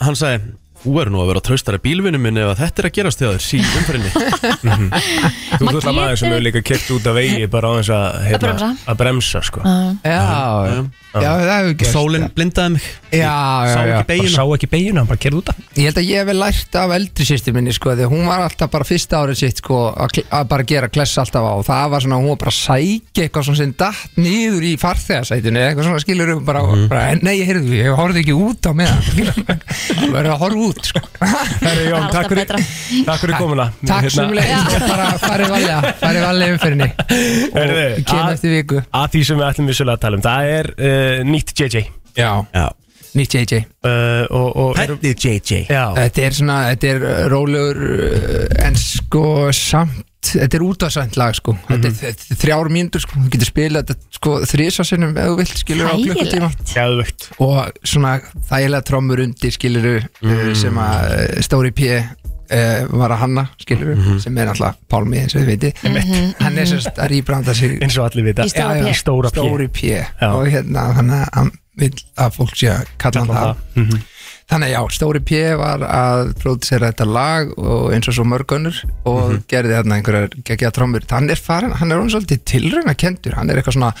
hann sagði Þú er nú að vera traustari bílvinni minn ef að þetta er að gerast þér sí, umfyrinni Þú ert alltaf maður sem hefur líka kert út af vegi bara á þess að, hérna, bremsa. að bremsa sko. Já. já, Já, það hefur gerst Sólinn blindaði mig Já, já, já Sá ekki beigina, bara kerði út af Ég held að ég hef vel lært af eldri sýstir minni sko, því að hún var alltaf bara fyrsta árið sitt sko, að kl- að bara gera kless alltaf á og það var svona, hún var bara að sækja eitthvað svona sem datt niður í farþegasætinu eða eitthvað svona skilur um bara, Mhm. bara nei, heyrðu, ég horfði ekki út á meðan þú verður að horfa út sko. Herri Jón, takk fyrir, takk fyrir komuna Hérna- Takk sem leið, bara farið valega farið valega umfyrinni Herri, kem eftir viku Að því sem við ætlum vissulega að tala um Það er uh, nýtt JJ Já, já. nýtt JJ uh, og, og Penny JJ Já, Þetta er svona, þetta er uh, rólegur uh, en sko samt þetta er útvarsvænt lag sko þetta er þ- þ- þrjár mínútur sko, þú getur spilað þetta sko þrísa sinnum ef þú vilt skilur á klukkutíma Gæðvögt og svona þægilega trommur undir skiluru Mm. mm. sem að uh, Stóri P uh, var að hanna skiluru sem er alltaf Pálmi eins og þið veitir Einmitt. hann er sérst að rýbranda sig eins og allir vita Í stóra Já, já, P. Stóra P, Stóri P og hérna þannig að hann vil að fólk sé að kalla hann það Mhm. Þannig að já, Stóri P var að pródusera þetta lag og eins og svo mörg önnur og Mhm. gerði þarna einhverjar geggja trommur. Hann er farin, hann er hún svolítið tilrauna hann er eitthvað svona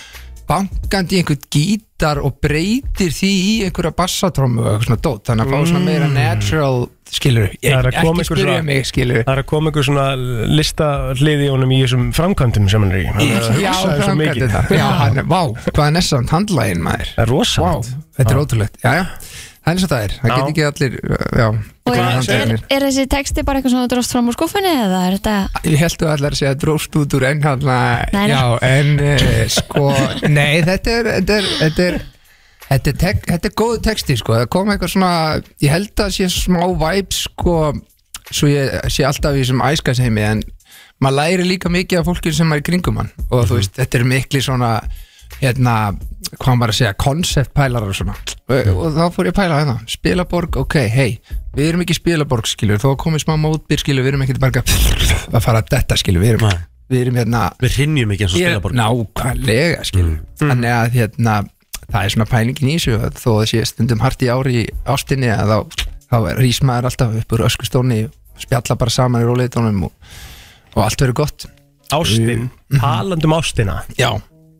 bankandi í einhvern gítar og breytir því í einhverja bassatrommu og eitthvað svona dót, þannig að fá svona meira natural, skilur, ég, Mm. Það er að koma ekki ykkur spyrja mig, skilur. Það er að koma ykkur svona lista hliði honum í þessum framkvæmdum sem hann er í Hann er að Já, hugsa þessu framkvæmt mikið. þetta Já, hann er, vá, hvað er nessamt handlægin maður Það er rosamt Vá, þetta er ótrúlegt, já, já Það er eins og það er, það Já. get ekki allir, já Og góðir er, er, handleggirnir. er þessi texti bara eitthvað sem þú dróst fram úr skuffinni eða er þetta Ég held að allar að segja dróst út úr enn hann Nei, nei. Já, en uh, sko Nei, þetta er Þetta er, þetta er Þetta er, tek, þetta er góðu texti sko, það kom eitthvað svona, ég held að sé smá væp sko, svo ég sé alltaf í þessum æskasheimi en maður læri líka mikið af fólkinu sem er í kringum hann og þú veist, þetta er mikli svona, hérna, hvað á maður að segja, konceptpælar og svona og, og þá fór ég að pæla hérna, spilaborg, ok, hei, við erum ekki spilaborg skilur, þó komið smá mótbyr skilur, við erum ekki bara að fara að detta skilur, við erum, við erum hérna Við hrynjum ekki eins og Ég- spilaborg nákvæmlega Mm. skilur þannig að hérna, það er svona pælingin í þessu að þó að sé stundum hart í ári í ástinni að þá, þá rís maður alltaf upp úr öskustónni spjalla bara saman í róleitónum og, og allt verður gott Ástin, talandi um ástina Já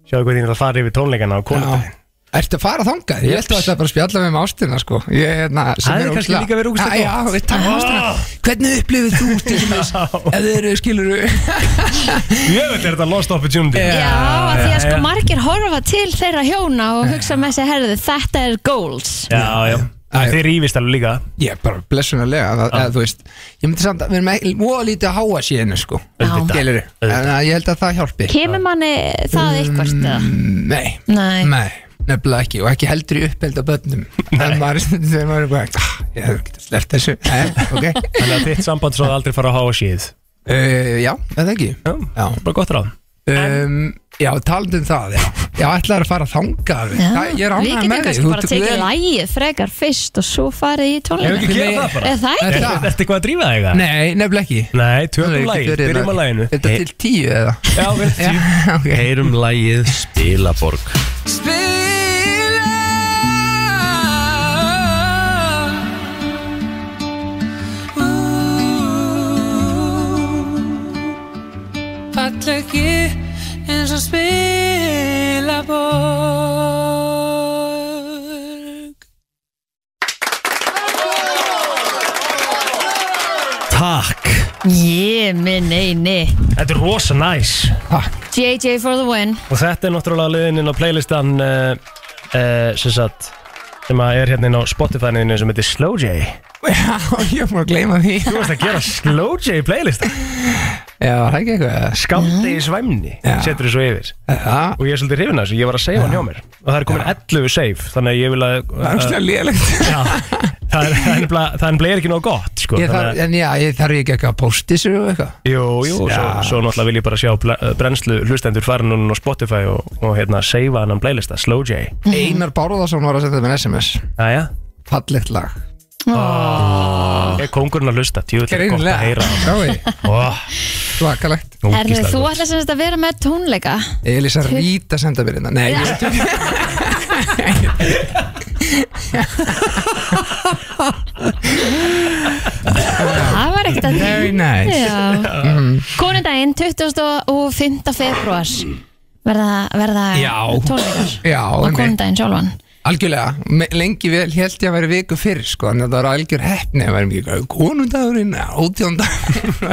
Sjáðu hvað þín er að fara yfir tónleikana á konundaginn Ertu að fara þangað? Ég ætla að bara að spjalla með um ástina sko Ég, hérna, sem Það er er kannski ógeðslega- líka verið Ah. úkislega Æ, Já, við takkum um ástina Hvernig upplifir þú til dæmis ef þið eru skilur Ég veit er þetta lost opportunity Já, af því að sko já. margir horfa til þeirra hjóna og hugsa með sér herðu þetta er goals Já, já, Æ, þeir rífist alveg líka Ég er bara blessunarlega að, Ah. að, þú veist, Ég myndi samt að við erum ekki Móða lítið að háa síðan sko. Skilurðu? En að ég held að það hjálpi Kemur manni það eitthvað eða? Nei, Nei. nei nefnilega ekki og ekki heldur í uppeld á börnum en maður er stundum þegar maður er bara "Ah, ég hef ekki slert þessu Nei, ok. Þannig að þitt samband svo aldrei fara að háa síð uh, Já, eða ekki Já, já. bara gott ráð um, Já, talandi um það Já, já ætlaður að fara þangað Já, Það- Ég er Við ánægð getum með kannski því bara tekið lægið frekar fyrst og svo farið í tónleika Ef ekki gera það bara Er það Er ekki? það? Ertu eitthvað að drífa þig það? Nei, nefnilega ekki Nei, tökum Nei, lagið, getur verið byrjum að það. laginu Þetta til tíu eða? Já, vel tíu okay. Heyrum lægið Spilaborg Falla ekki eins og spila borg Takk Ég minn eini Þetta er rosa næs JJ for the win Og þetta er náttúrulega liðin inn á playlistan uh, uh, sem sagt sem að er hérna inn á Spotify-niðinu sem heitir Slow J Já, ég múið að gleyma því Þú varst að gera Slow J playlista Já, það er ekki eitthvað Skamdegi svæmni setur þessu yfir Já. og ég er svolítið hrifin af þessu, ég var að segja hann hjá mér og það er komin 11 save, þannig að ég vil að Það er ógeðslega lélegt Það er það er nefnilega- það er nefnilega ekki nóg gott sko, Ég þannig þarf, að- en já, ég þarf ekki eitthvað að posti sér og eitthvað Jú, jú, svo, Já. svo náttúrulega vil ég bara sjá ble- brennslu hlustendur fara núna á Spotify og, og hérna seifa hann á playlista, Slow J Einar Bárðarsson var að senda mér SMS Jæja Fallegt lag oh. Er kongurinn að hlusta, tjú, þetta er gott Greinilega. að heyra Sjái. oh, Svakalegt Erðu þú ætla sem þetta að vera með tónleika? Elisa Rít að senda mér þetta Nei, ég veit ekki Stemning. Very nice. Já. Mhm. Konundaginn 25. februar verða, verða Já. tónleikar Já, og einmitt. konundaginn sjálfan Algjörlega, Me- lengi vel held ég að vera viku fyrir sko, en þetta var algjör hefni að vera mikið konundagurinn, átjóndag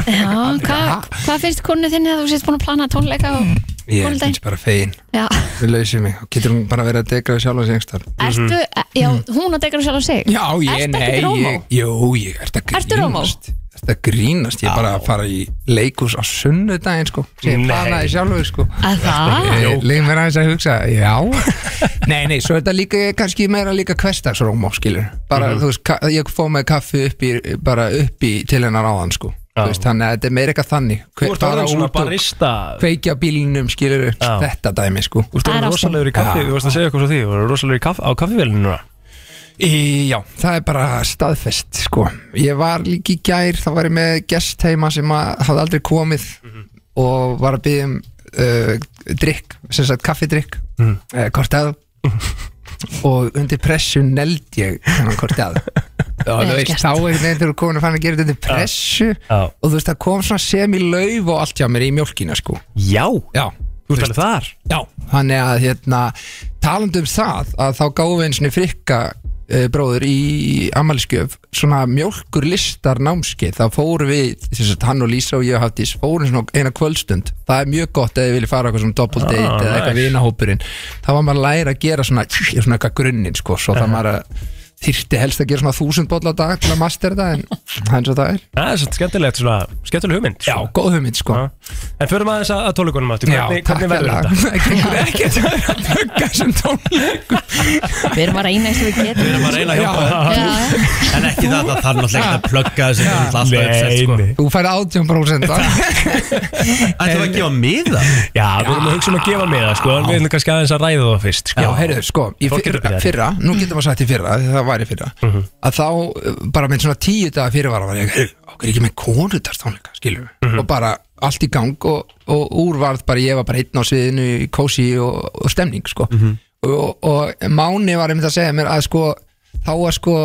Já, hvað hva finnst konu þinni að þú sést búin að plana tónleika og Ég konundaginn? finnst bara fegin, Já, við lausum mig og getur hún bara verið að degra við sjálf og sengstar ertu, e- já, hún að degra sjálf á sig Mhm. Já, ég, Ertu nei, ekki rómó? ég, jú, ég er þetta Ertu rómó? Þetta grínast, ég er bara að fara í leikus á sunnudaginn sko sem Nei. ég planaði sjálfur sko Að það? Leif mér aðeins að hugsa, já Nei, nei, svo er þetta líka kannski meira líka kvestagsrómó, skilur bara, Mhm. þú veist, ka- ég fóð með kaffi upp í, bara upp í til hennar áðan sko Þú veist, þannig að þetta er meira eitthvað þannig Þú ert orðin svona barista kveikja á bílinum, skilur þetta dæmi sko Þú ert orðin rosalegur í kaffi, þú varst að segja eitthvað svo því Þú ert rosalegur í kaff, á kaffivélinu núna Í, já, það er bara staðfest sko. Ég var líka í gær þá var ég með gest heima sem að hafði aldrei komið og var að byggja um uh, drikk, sem sagt kaffidrikk mm. uh, kortað og undir pressu neld ég hennan kortað og þú Vel veist, gert. þá er neginn þegar komin að fann að gera þetta undir pressu og þú veist, það kom svona semi-lauf og allt hjá mér í mjólkina sko Já, já þú ert alveg þar Já, þannig að hérna, talandi um það að þá gáðum við einsinni frikka uh, bróður í Amaliskjöf svona mjólkur listar námskeið þá fórum við, þess að hann og Lísa og ég hafði fórum svona á eina kvöldstund það er mjög gott eða þið viljið fara eitthvað svona double date Ah, eða eitthvað nice. vinahópurinn þá var maður að læra að gera svona, svona eitthvað grunninn sko, svo það maður að þyrfti helst að gera svona þúsund bolla á dag til að mastera það en það er eins og það er Það er svolítið skemmtilegt svona, skemmtileg hugmynd Já, góð hugmynd sko En förum aðeins að, að tólugunum aftur, Já, hvernig, takk hvernig hérlega. verður Það þetta? gengur ekkert að vera að bugga sem tónleikum Við erum að reyna eins og við getum Við erum að reyna að hjálpa þér. En ekki það, það þarf náttúrulega ekki að plugga þessu Það er náttúrulega alltaf uppsett sko Þú færði 18% af Ætlum við að gefa miða? Já, við erum að hugsa um að gefa með það sko En við erum kannski aðeins að ræða það fyrst Já, heyrðu, sko, í Fólk er fyrra, byrjað. fyrra nú getum við sagt í fyrra, því það var í fyrra að þá, uh, bara með svona tíu daga fyrirvara var ég, Mhm. heyrðu, okkur er ekki með konutarstónleika, skilur við, og bara allt í gang og, og úr varð bara ég var bara einn á sviðinu í kósi og, og stemning, sko og, og Máni var einmitt að segja mér að sko þá var sko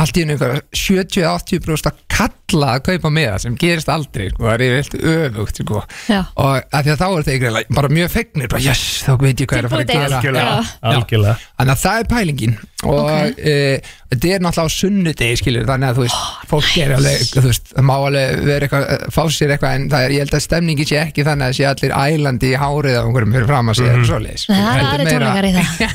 allt í einu einhverja 70-80 brúst að kalla að kaupa með það sem gerist aldrei sko, það er yfirleitt öfugt sko. Já. og að því að þá er þetta einhverja bara mjög fegnir, bara yes, þá veit ég hvað er að fara að Tilbúið gera deil. Algjörlega, Já. algjörlega. Þannig að það er pælingin og okay. þetta er náttúrulega á sunnudegi skilur þannig að þú veist, Oh, fólk er alveg þú veist, það má alveg vera eitthvað eh, fá sér eitthvað en það er, ég held að stemningi sé ekki þannig að sé allir ælandi í hárið af einhverjum fyrir fram að sé mm. svoleiðis Nei, Það er Heldur aðri meira- tónleikar í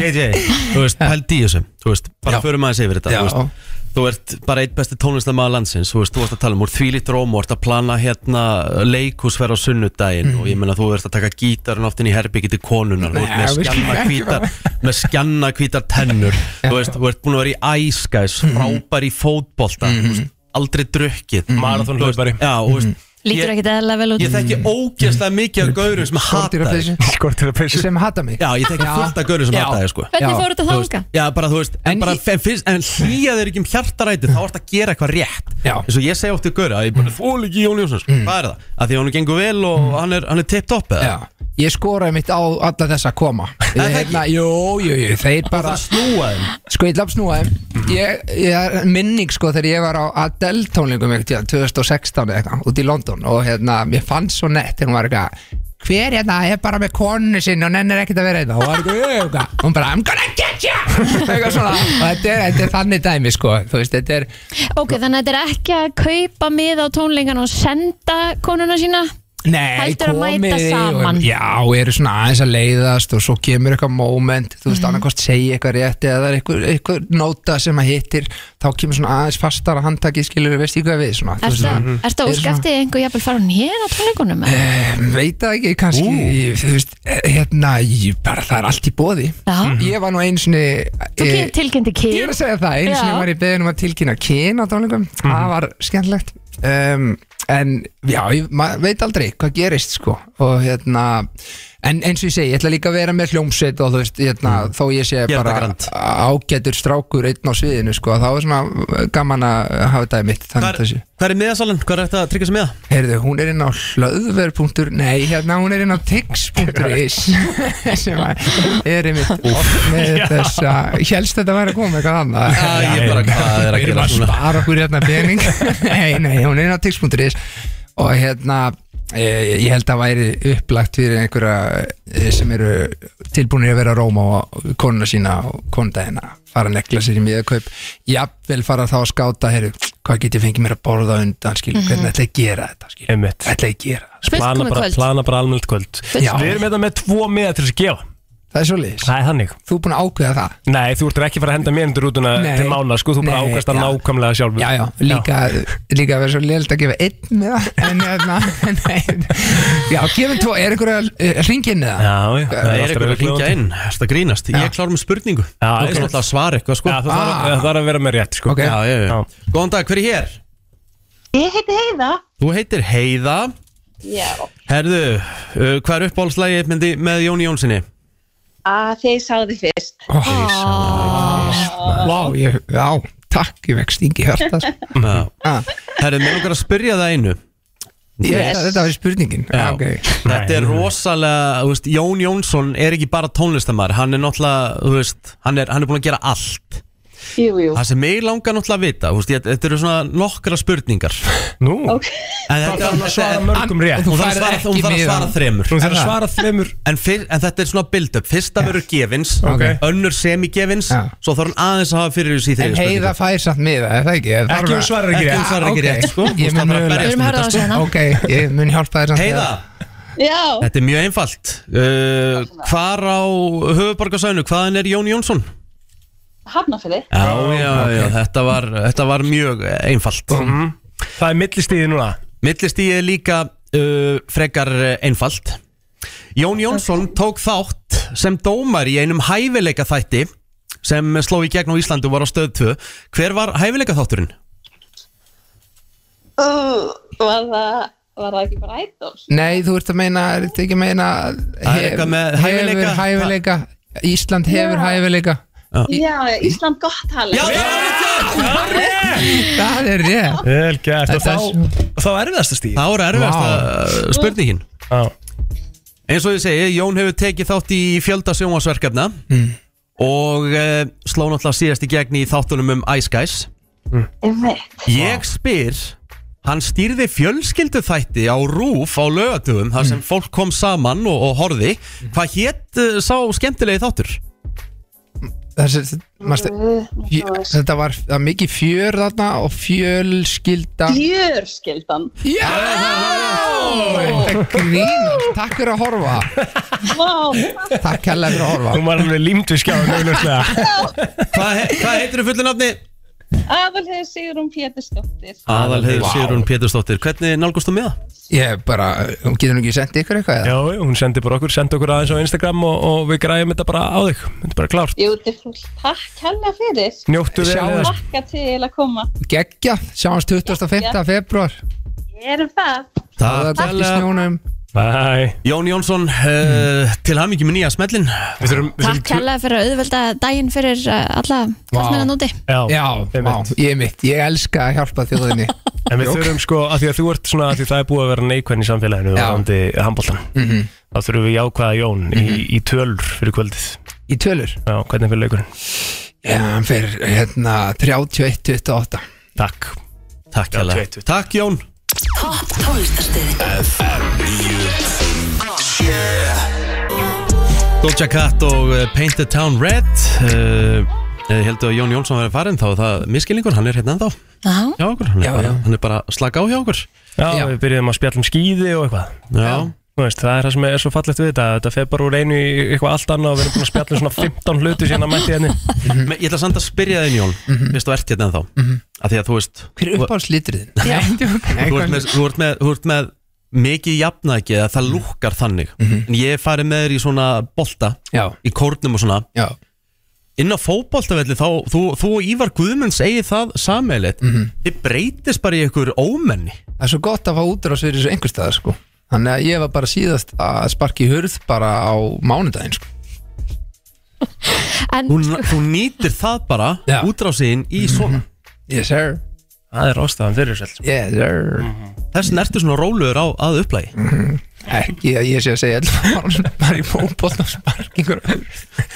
það JJ, þú veist, pælt í þessum Þú veist, bara förum aðeins yfir þetta Já. þú veist, Þú ert bara eitt besti tónlistamæður landsins Þú veist, þú ert að tala um úr því lít róm Þú ert að plana hérna leikhúsverð á sunnudaginn Og ég meina þú ert að taka gítarinn oft inn í herbyggi til konunar Þú ert Nei, við með skulum skjanna ekki hvítar Með skjanna hvítar tennur Þú veist, þú ert búin að vera í æskæs Mhm. Frábær í fótbolta þú veist, Aldrei Mhm. drukkið Marathon hlaupari Já, þú veist Lítur ekkert eðlilega vel út Ég þekki ógeðslega mikið af gaurum sem hata þig Skortir að peysu sem hata mig Já, ég þekki fullt af gaurum sem Já. hata þig sko Hvernig fór þetta Þú veist, þanga? Já, bara þú veist, en, bara, en, fyrst, en hlýja þeir ekki um hjartaræti þá ert að gera eitthvað rétt Já. eins og ég segi oft í Gaura, ég bara þól ekki Jón Jónsson sko. hvað er það? Að því að hann gengur vel og hann er, hann er tippt upp eða? Ég skoraði mitt á alla þess að koma ég, hérna, Jú, jú, jú, þeir bara snúa þeim Sko, ég laf snúa þeim ég, ég er minning, sko, þegar ég var á Adele tónleikum eitthvað, 2016 eða eitthvað, út í London og hérna, mér fannst svo nett þegar hún var eitthvað hver hérna er bara með konu sinni og nennir ekkert að vera hérna og hún var eitthvað, "Jú, jú, eitthvað, hún bara, I'm gonna get you eitthvað svona, og þetta er, þetta er þannig dæmi, sko, þú veist, þetta er Ok, þannig að þetta er ekki að kaupa mið á tónleikan og senda konuna sína Nei, Heldur að mæta komið þið saman. og, Já, eru svona aðeins að leiðast og svo kemur eitthvað moment, þú Mhm. veist, mm. annarkost segja eitthvað rétt eða það er eitthvað, eitthvað nota sem að hittir, þá kemur svona aðeins fastar að handtaki, skilur, veist ég hvað við svona, þú veist, Ertu Mhm. svona- ertu að er svona- óskaftið einhver jafnvel fara hún hér á tónleikunum? eða? Em, Veit það ekki, kannski ég, Þú veist, eh, hérna, ég, bara það er allt í bóði Já. Ég var nú einu sinni Þú eh, getur tilkynnti kyn Ég er að segja það, einu sinni var ég beðin um að tilkynna kyn á tónleikum, það Mhm. var skemmtilegt um, en já, ég ma- veit aldrei hvað gerist sko og hérna, En eins og ég segi, ég ætla líka að vera með hljómsveit og þú veist, hérna, Mhm. þó ég sé Gera þetta bara grand. ágætur strákur einn á sviðinu, sko, þá er svona gaman að hafa þetta mitt, þannig að þessi. Hvað er miðasalan? Hvað er þetta að tryggja sig miða? Heyrðu, hún er inn á hlöðver.ur, nei, hérna, hún er inn á tix.is, sem að er einmitt oft með Já. þessa, helst þetta væri að koma eitthvað annað. Já, ég bara, hvað er að Við erum gera að svona? spara okkur hérna pening Nei, nei, hún er inn á tix.is Og hérna eh, Ég held að væri upplagt fyrir einhverja eh, sem eru tilbúinir að vera að róma og konuna sína og konunda hérna fara að negla sér í miðakaup jafnvel fara þá að skáta heru, hvað get ég fengið mér að borða á undan skil, Mhm. hvernig ætla ég að gera þetta skil, ætla ég að gera þetta, skilur? plana bara, plana bara almennt kvöld Já. Við erum þetta með tvo miða til þess að gefa Það er svolítið Það er þannig Þú er búin að ákveða það Nei, þú ert ekki að fara að henda mér undir rútuna Nei. til mána sko, þú bara Nei, ákast það já. nákvæmlega sjálfur Já, já, líka, líka að vera svo leilt að gefa einn miða en hérna, nei Já, gefum tvo, er einhverja að ringa inn eða? Já, það er er eitthvað að alltaf klingja verið inn, það grínast Ég klára með spurningu Þú ég kannast skal- alltaf að svara eitthvað sko Já, það þarf að- það þarf að vera með rétt sko okay. já, já, já. Góðan dag, hver er hér? Ég heiti Heiða. Þú heitir Heiða Já. Herðu, uh, hvað er uppáhaldslægið myndi með Jóni Jónssoni? Að þið sáðu fyrst. Oh, Vá, ég, já, takk, ég vekst ingi hjarta sko. Herðu, mér langar að spyrja það einu Ég veit að þetta var spurningin Já. okay. Þetta er rosalega, þú veist, Jón Jónsson er ekki bara tónlistamæður, hann er náttúrulega, þú veist, hann er, hann er búin að gera allt Jú, jú. Það sem mig langar náttúrulega að vita, þú veist, ég- þetta eru svona nokkra spurningar Nú, en Þá þetta þarf hún að svara mörgum rétt. Hún Þú þarf að færð svara, ekki hún þarf að miðan. svara þremur Hún þarf að svara þremur En, fyrr, en þetta er svona build-up, fyrsta verður gefins Ok. Önnur semi-gefins Svo þarf hún aðeins að hafa fyrir þessi En þriðju heiða fær samt miða, er það ekki? Er það Ekki bara- hún svarar ekki rétt. Ekki hún svarar ekki Ah, rétt ok. sko. Ég mun mögulega- Við erum að hörða á þessu hérna. Ok, ég mun hjálpa þér samt Heiða, Já. þetta er mjög einfalt uh, Hvar á höfuborgarsæðinu, hvaðan er Jón Jónsson? Hafnafili. Já, já, já, þetta var, þetta var mjög einfalt Það er millistíði núna Millistíði er líka uh, frekar uh, einfalt Jón Jónsson tók þátt sem dómar í einum hæfileika þætti sem sló í gegn á Íslandu og var á stöð 2 Hver var hæfileika þátturinn? Uh, var, það, var það ekki bara ædol? Nei, þú ert að meina, er þetta ekki að meina Það er eitthvað með hæfileika. Hefur hæfileika Ísland hefur Já. hæfileika Já, Ísland gott halið. Já, það er Það er rétt Vel gert Og Þetta er þá, þá erfiðast að stíð Það voru erfiðasta Vá. wow. spurningin Eins og ég segi, Jón hefur tekið þátt í fjölda sjónvarsverkefna og uh, sló náttúrulega síðast í gegn í þáttunum um Ice Guys Hmm. Ég spyr Hann stýrði fjölskyldu þætti á rúf á lögatugum þar sem fólk kom saman og, og horði Hvað hétt uh, sá skemmtilegi þáttur? Þessi, manstu, fjö- Þetta var það var mikið fjör þarna og fjölskylda Fjörskildan. Já! Þetta grínast, takk fyrir að horfa Vá, Takk hella fyrir að horfa Hún var alveg límd við skjáðum auðvitað Hvað he hva heitir þú fullu nafni? aðalhefur Sigurún Pétursdóttir. Aðalheiður Vá. Sigrun Pétursdóttir Hvernig nálgast þú með það? Ég bara, hún getur nú ekki sendið ykkur eitthvað Já, já, hún sendi bara okkur, sendi okkur aðeins á Instagram og, og við græjum þetta bara á þig Þetta er bara klárt Jú, þetta er fullt. Takk hella fyrir. Njóttu vel. Sjáumst. Takka til að koma. Gekkja, sjáumst 25. februar Ég erum það. Takk Takk í snjónum Bye. Jón Jónsson, uh, til hamingi með nýja smellin við þurfum, Takk hérlega fyrir að auðvelda daginn fyrir uh, alla kallmennan úti Já, vá, ég mitt, ég elska að hjálpa þjóðinni En við Jók. þurfum sko, að því að þú ert svona að því það er búið að vera neikvæðin í samfélaginu og handi handbóltan Mhm. þá þurfum við jákvæða Jón í, í tölur fyrir kvöldið Í tölur? Já, hvernig fyrir leikurinn? Já, hann fyrir hérna 31-28 Takk Takk hérlega. Takk Jón Topp tónlistarstöðin Doja Cat og uh, Paint the Town Red uh, Ég held að Jón Jónsson verið farin þá er það miskilningur, hann er hérna ennþá Já, hjá okkur, hann, er bara, hann er bara að slaka á hjá okkur Já, við byrjuðum að spjalla um skýði og eitthvað Já Þú veist, það er það sem er svo fallegt við þetta Þetta fer bara úr einu í eitthvað allt annað og við erum búin að spjalla um svona 15 hluti síðan að mætti hérna henni Men Mm-hmm. Ég ætla samt að spyrja þinn Jón Vist þú ert hérna ennþá Mhm. Af því að þú veist Hver er uppáhaldsliturinn? Þú ert með, þú ert með, þú ert með mikið jafnæki eða það lúkkar þannig Mhm. En ég er farið með þér í svona bolta Já. Í kórnum og svona Já. Inn á fótboltavelli þá Þú, þú og Ívar Guðmunds eigi það Mhm. sameilet Þið breytist bara í ykkur ómenni Það er svo gott að fá útrás fyrir þessu einhverstaðar sko Þannig að ég var bara síðast að sparki hurð bara á mánudaginn sko. En, Þú, þú nýtir það bara ja. útrásiðin í Mhm. svona Yes sir Mhm. Það er ástæðan fyrir sér Yes sir Þess vegna ertu svona róluður á að upplægi Ekki að ég sé að segja allavega bara í fótbolta og sparkingur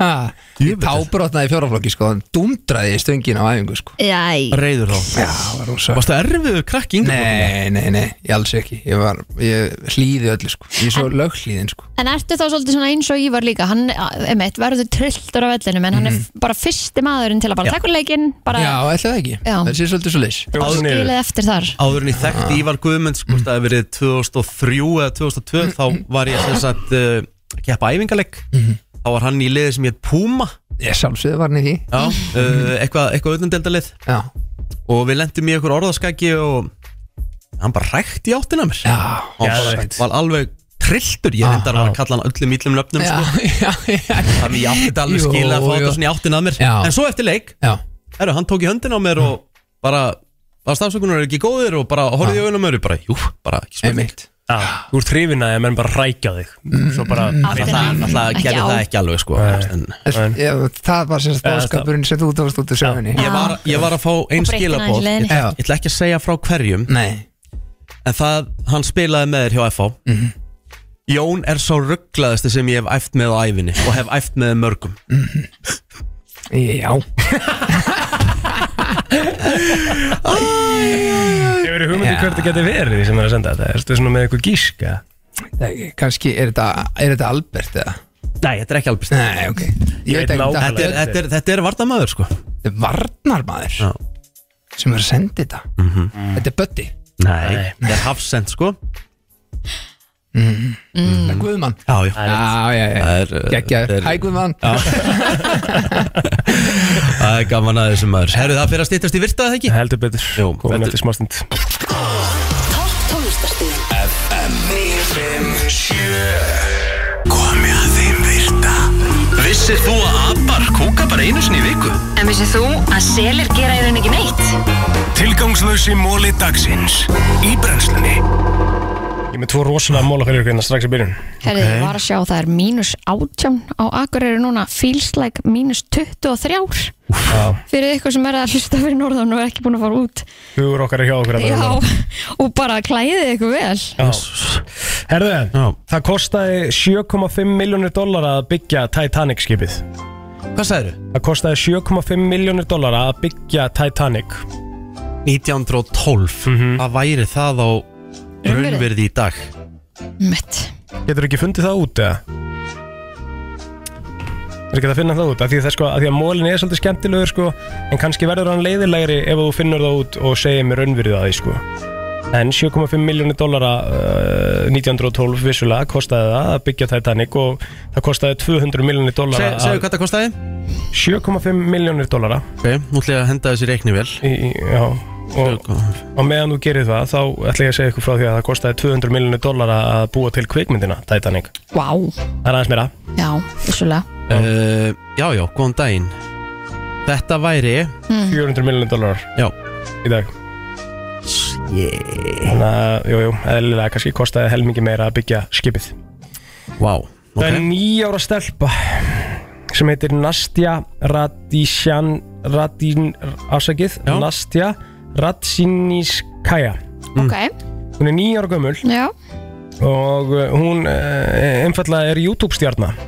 ah, Þá brotnaði í fjóraflokki sko en dúndraði ég stöngin á æfingu sko Jæ Reyður þá Já, var rosa Varstu erfiður krakki yngur? Nei, nei, nei, ég alls ekki Ég var, ég hlýði öllu sko Ég er svo löghlýðin sko en ertu þá svolítið svona eins og Ívar líka Hann, emitt, verður trilltur á vellinum En hann er f- bara fyrsti maðurinn til að Já. bara taka leikinn bara, Mhm. Já, ætli það ekki Já. Það sé svolítið svo leys Skilið eftir þar Áður en ég þekkti Ívar Guðmunds Mhm. hvort það hefur verið 2003 eða 2002 þá var ég sem sagt uh, að keppa æfingaleg Mhm. þá var hann í liði sem hétt Puma Ég sjálfsögðu var hann í því Já, uh, Mhm. eitthvað eitthva auðvendeldalið Já. og við lendum í einhver orðaskaki og hann bara rækti í áttina að mér Já, og geðveikt. Ah, var alveg trilltur ég reyndar að kalla hann öllum ítlum löfnum Já, sko. já, þannig ég átti þetta alveg Jú, skilja að fá jú. þetta svona í áttina að mér Já. en svo eftir leik, heru, hann tók í höndin á mér og bara, bara stafsökunar er ekki góðir og bara horfði í augunum mér og bara, jú, bara ekki spurning Já, þú ert hrifin að ég menn bara rækja þig Svo bara Náttúrulega- náttúrulega Ekki gerði á. það ekki alveg sko En- Ég, það var sérst bóðskapurinn sem þú tóðast út úr sögunni ég var, ég var að fá Og einn breytti aðeins skilabóð ég, leiðinni. ég ætla ekki að segja frá hverjum Nei. en það, hann spilaði með þér hjá FH Jón er sá rugglaðasti sem ég hef æft með á æfinni og hef æft með mörgum Já Ég verið hugmyndi Já. um hvert það geti verið sem er að senda þetta Erstu svona með eitthvað gíska? Nei, Kannski, er þetta, er þetta Albert eða? Nei, þetta er ekki Albert Nei, ok Ég veit ekki þetta, þetta, er, þetta, er, þetta er varnarmaður sko Þetta er varnarmaður Já. sem er að senda þetta Þetta er Bötti Nei, þetta er hafsend sko Mm. Það er Guðmann Já, já, já, já, já. Það er, uh, Gekkjaður. þetta er- Hæ Guðmann Það er gaman að þessum maður Herru, það fyrir að stýttast í virtað ekki? Heldur betur, Jú, komin eftir smástund Tónlistarstíðin FM 957 Komi að þeim virta Vissir þú að abar kúka bara einu sinni í viku? En vissið þú að selir gera í raun ekki neitt? Tilgangslösi móli dagsins Í brennslunni Ég er með tvo rosalega móla fyrir ykkur hérna strax í byrjun Herri, ég var að sjá það er mínus 18 á Akureyri núna feels like mínus 23 Já, fyrir ykkur sem er að hlusta fyrir norðan og er ekki búin að fara út hugur okkar er hjá okkur hérna. Já, og bara klæðið ykkur vel Já. Herðu, það kostaði 7,5 miljónir dólar að byggja Titanic skipið Hvað sagðið? Það kostaði 7,5 miljónir dólar að byggja Titanic 1912 Hvað væri það á raunverði í dag? Mitt Getur ekki fundið það út eða? Er ekki að finna það út af því að, það, sko, að, því að mólin er svolítið skemmtilegur sko, en kannski verður hann leiðilegri ef þú finnur það út og segir mér raunverið að því sko. en 7,5 miljónir dollara uh, 1912 vissulega kostaði það að byggja Titanic og það kostaði 200 miljónir dollara Seg- segðu hvað það kostaði? 7,5 miljónir dollara Ok, nú ætla ég að henda þessi reikni vel í, Já og, og meðan þú gerir það þá ætla ég að segja ykkur frá því að það kostaði 200 miljónir dollara að búa til kvikmyndina Titanic Vá Það er aðeins meira Já, vissulega Uh, já, já, góðan daginn Þetta væri 400 miljónir dólarar Já í dag yeah. Þannig að, jú, jú, eðlilega kannski kostaði helmingi meira að byggja skipið Vá Það er nýjára stelpa sem heitir Nastja Radishan Radin, afsakið Nastja Radzinskaya Ok, Hún er nýjára gömul já, og uh, hún uh, einfallega er YouTube stjarnar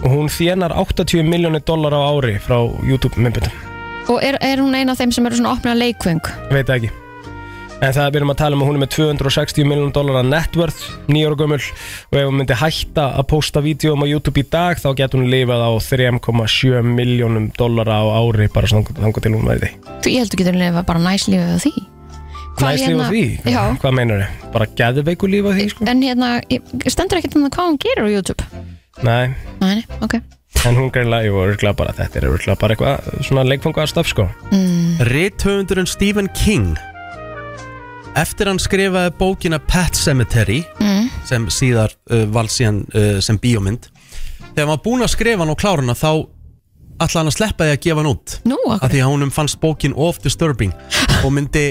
og hún þjenar 80 miljónir dólar á ári frá YouTube myndböndum, og er, er hún eina af þeim sem eru svona opnað leikvöng veit það ekki en það byrjum að tala um að hún er með 260 miljónir dólar að netvörð, nýjóra gömul og ef hún myndi hætta að posta vídeoum á YouTube í dag þá getur hún lifað á 3,7 miljónum dólar á ári bara svona þangar til hún verði Þú, ég heldur getur lifa bara næslífið á því Hvað Næs líf á hérna- því, Já. hvað meinar þið? Bara geðveiku líf á því? sko? En hérna, ég- stendur ekkert um það hvað hún gerir á YouTube Nei, Nei, nei, ok en hún greinlega, jú, örgulega bara þetta er örgulega bara eitthvað svona leikfangu að sko mm. Rithöfundurinn Stephen King Eftir hann skrifaði bókina Pet Cemetery Mm. sem síðar uh, vald síðan uh, sem bíómynd Þegar hann var búinn að skrifa hann og klára hana þá ætlaði hann að sleppa því að gefa hann út Nú, af því að honum fannst bókin of disturbing og myndi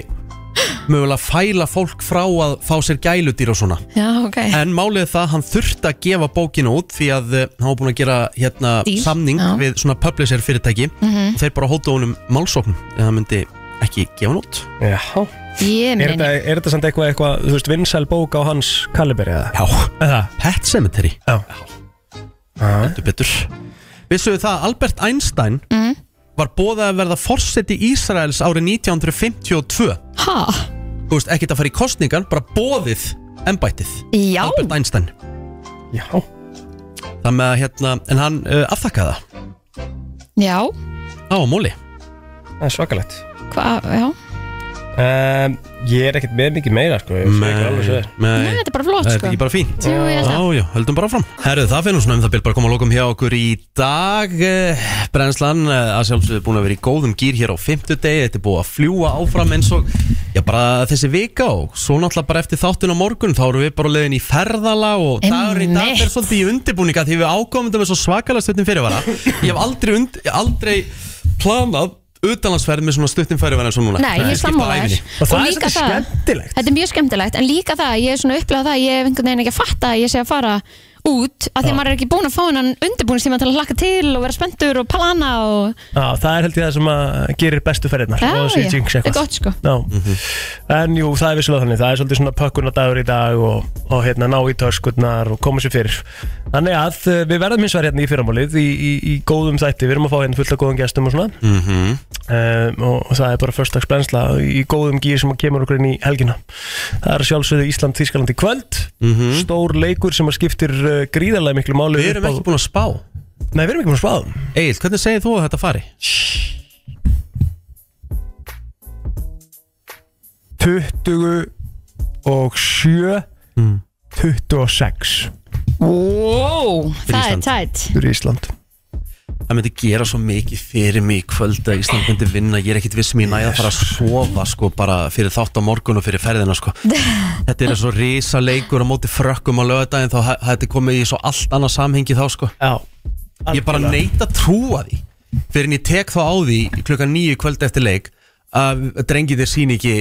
mögulega fæla fólk frá að fá sér gæludýr og svona Já, ok En málið er það, að hann þurfti að gefa bókina út því að eh, hann var búinn að gera hérna, Díl, samning já. við svona publisher fyrirtæki Mhm. og þeir bara hóta honum málsóknum en hann myndi ekki gefa hann út Já Ég Er meina þetta, er þetta samt eitthvað, eitthvað, þú veist, vinsæl bók á hans kaliberi eða? Já, eða? Pet Cemetery Já Þetta er betur Vissuðu það, að Albert Einstein Mhm. var bóðað að verða forseti Ísraels árið 1952 Ha? Þú veist, ekkert að fara í kostningan, bara bóðið embættið Já Albert Einstein Já Það með að hérna, en hann uh, afþakkaði það Já, á móli Það er svakalegt hvað, já um, Ég er ekkert með mikið meira, sko ég sé ekki alveg svo vel. Nei, þetta er bara flott, Það sko. er ekki bara fínt Jú, ég held Já, það. já, höldum bara áfram Herðu, það finnum svona um það byrð bara að koma að lókum hjá okkur í dag eh, Brennslan, eh, að sjálfsögðu búin að vera í góðum gýr hér á fimmtudegi Þetta er búið að fljúa áfram eins og Já, bara þessi vika og svo náttúrulega bara eftir þáttun á morgun Þá erum við bara leðin í ferðala og dagur í dag er svolítið í undirbúninga Því við ákomendum við svo svakalega stuttin fyrirvara Ég hef aldrei, und, aldrei planað utanlandsferð með svona stuttin fyrirvara eins og núna Nei, ég Skipta sammála ævinni. þér. Og það er líka svolítið það- skemmtilegt Þetta er mjög skemmtilegt, en líka það, ég er svona upplegað það, ég hef einhvern veginn ekki að fatta að ég sé að fara út, af því Já. að maður er ekki búin að fá hennan undirbúinistíma til að hlakka til og vera spenntur og plana og, Já, það er held ég það sem að gerir bestu ferðirnar Já, og það sé já, jinx þetta er eitthvað. gott, sko. Já. Mhm. En jú, það er vissulega þannig Það er svolítið svona pökkunardagur í dag og, og hérna, ná í törskurnar og koma sér fyrir Þannig að eh, við verðum hins vegar hérna í fyrramálið í, í, í góðum þætti Við erum að fá hérna fullt af góðum gestum og svona Mhm. um, og það er bara förstagsbrensla í góðum gýr sem kemur okkur inn í helgina það er að sjálfsögðu Ísland Þískalandi kvöld Mhm. stór leikur sem að skiptir uh, gríðarlega miklu máli Við erum upp á- ekki búin að spá Nei, við erum ekki búin að spá Egil, hvernig segir þú að þetta fari? 20 og 7 Mm. 26 wow, það er Ísland. tætt. fyrir Ísland Það myndi gera svo mikið fyrir mig í kvöld að Ísland myndi vinna, ég er ekkit viss sem ég næði að fara að sofa sko bara fyrir þátt á morgun og fyrir ferðina sko Þetta er svo risa leikur á móti frökkum á lögadaginn þá ha- þetta er komið í svo allt annað samhengi þá sko Já Ég bara neita að trúa því fyrir en ég tek þá á því klukkan nýju kvöld eftir leik að drengið þér sín ekki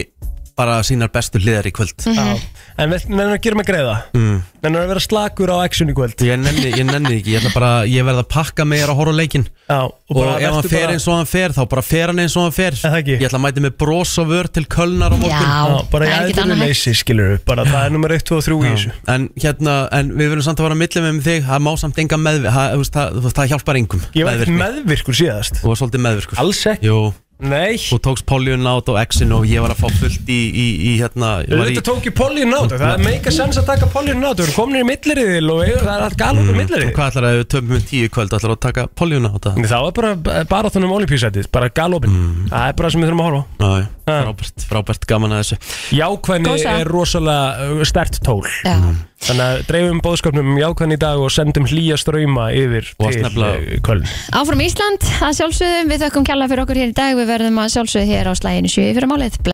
bara sínar bestu hliðar í kvöld Já. En við mennum að gera mig greiða mm. Mennum að vera slakur á action í kvöld Ég nenni, ég nenni ekki, ég, ætla bara, ég verð að pakka mig að horfa á leikin Já, og, bara ef hann vertu fer bara- eins og hann fer þá bara fer hann eins og hann fer Ég ætla að mæta með bros og vör til kölnar á morgun Já, bara í aðri leysi skilur við bara það er nummer 1, 2 og 3 í þessu En hérna, en við verðum samt að vara millið með þig Það má samt enga meðvirk það, þú veist, það, það, það hjálpar engum Ég var ekkert meðvirkur síðast Þú var svolítið meðvirkur Alls ekki Jú Nei Þú tókst Póljun át og Exin og ég var að fá fullt í, í, í hérna ég var í- Þetta tók ég Pollin át það er meika sens að taka Pollin át Þú eru komin í milliriðil og eiga- það er allt galop um milliriðil Mm. Og Hvað ætlar að við töfum með tíu í kvöld ætlar að taka Póljun át Þá er bara eh, baráttunum olimpísætið, bara galopin Mm. Það er bara sem við þurfum að horfa á. Frábært, frábært gaman að þessu Jákvæðni Gósa. er rosalega uh, stert tól Já. Þannig að dreifum bóðskapnum um jákvæðni í dag og sendum hlýja ströyma yfir Og til snefla- uh, Köln Áfram Ísland, að sjálfsögðum, við þökkum kjalla fyrir okkur hér í dag, við verðum að sjálfsögðu hér á slæginu 7 fyrir málið.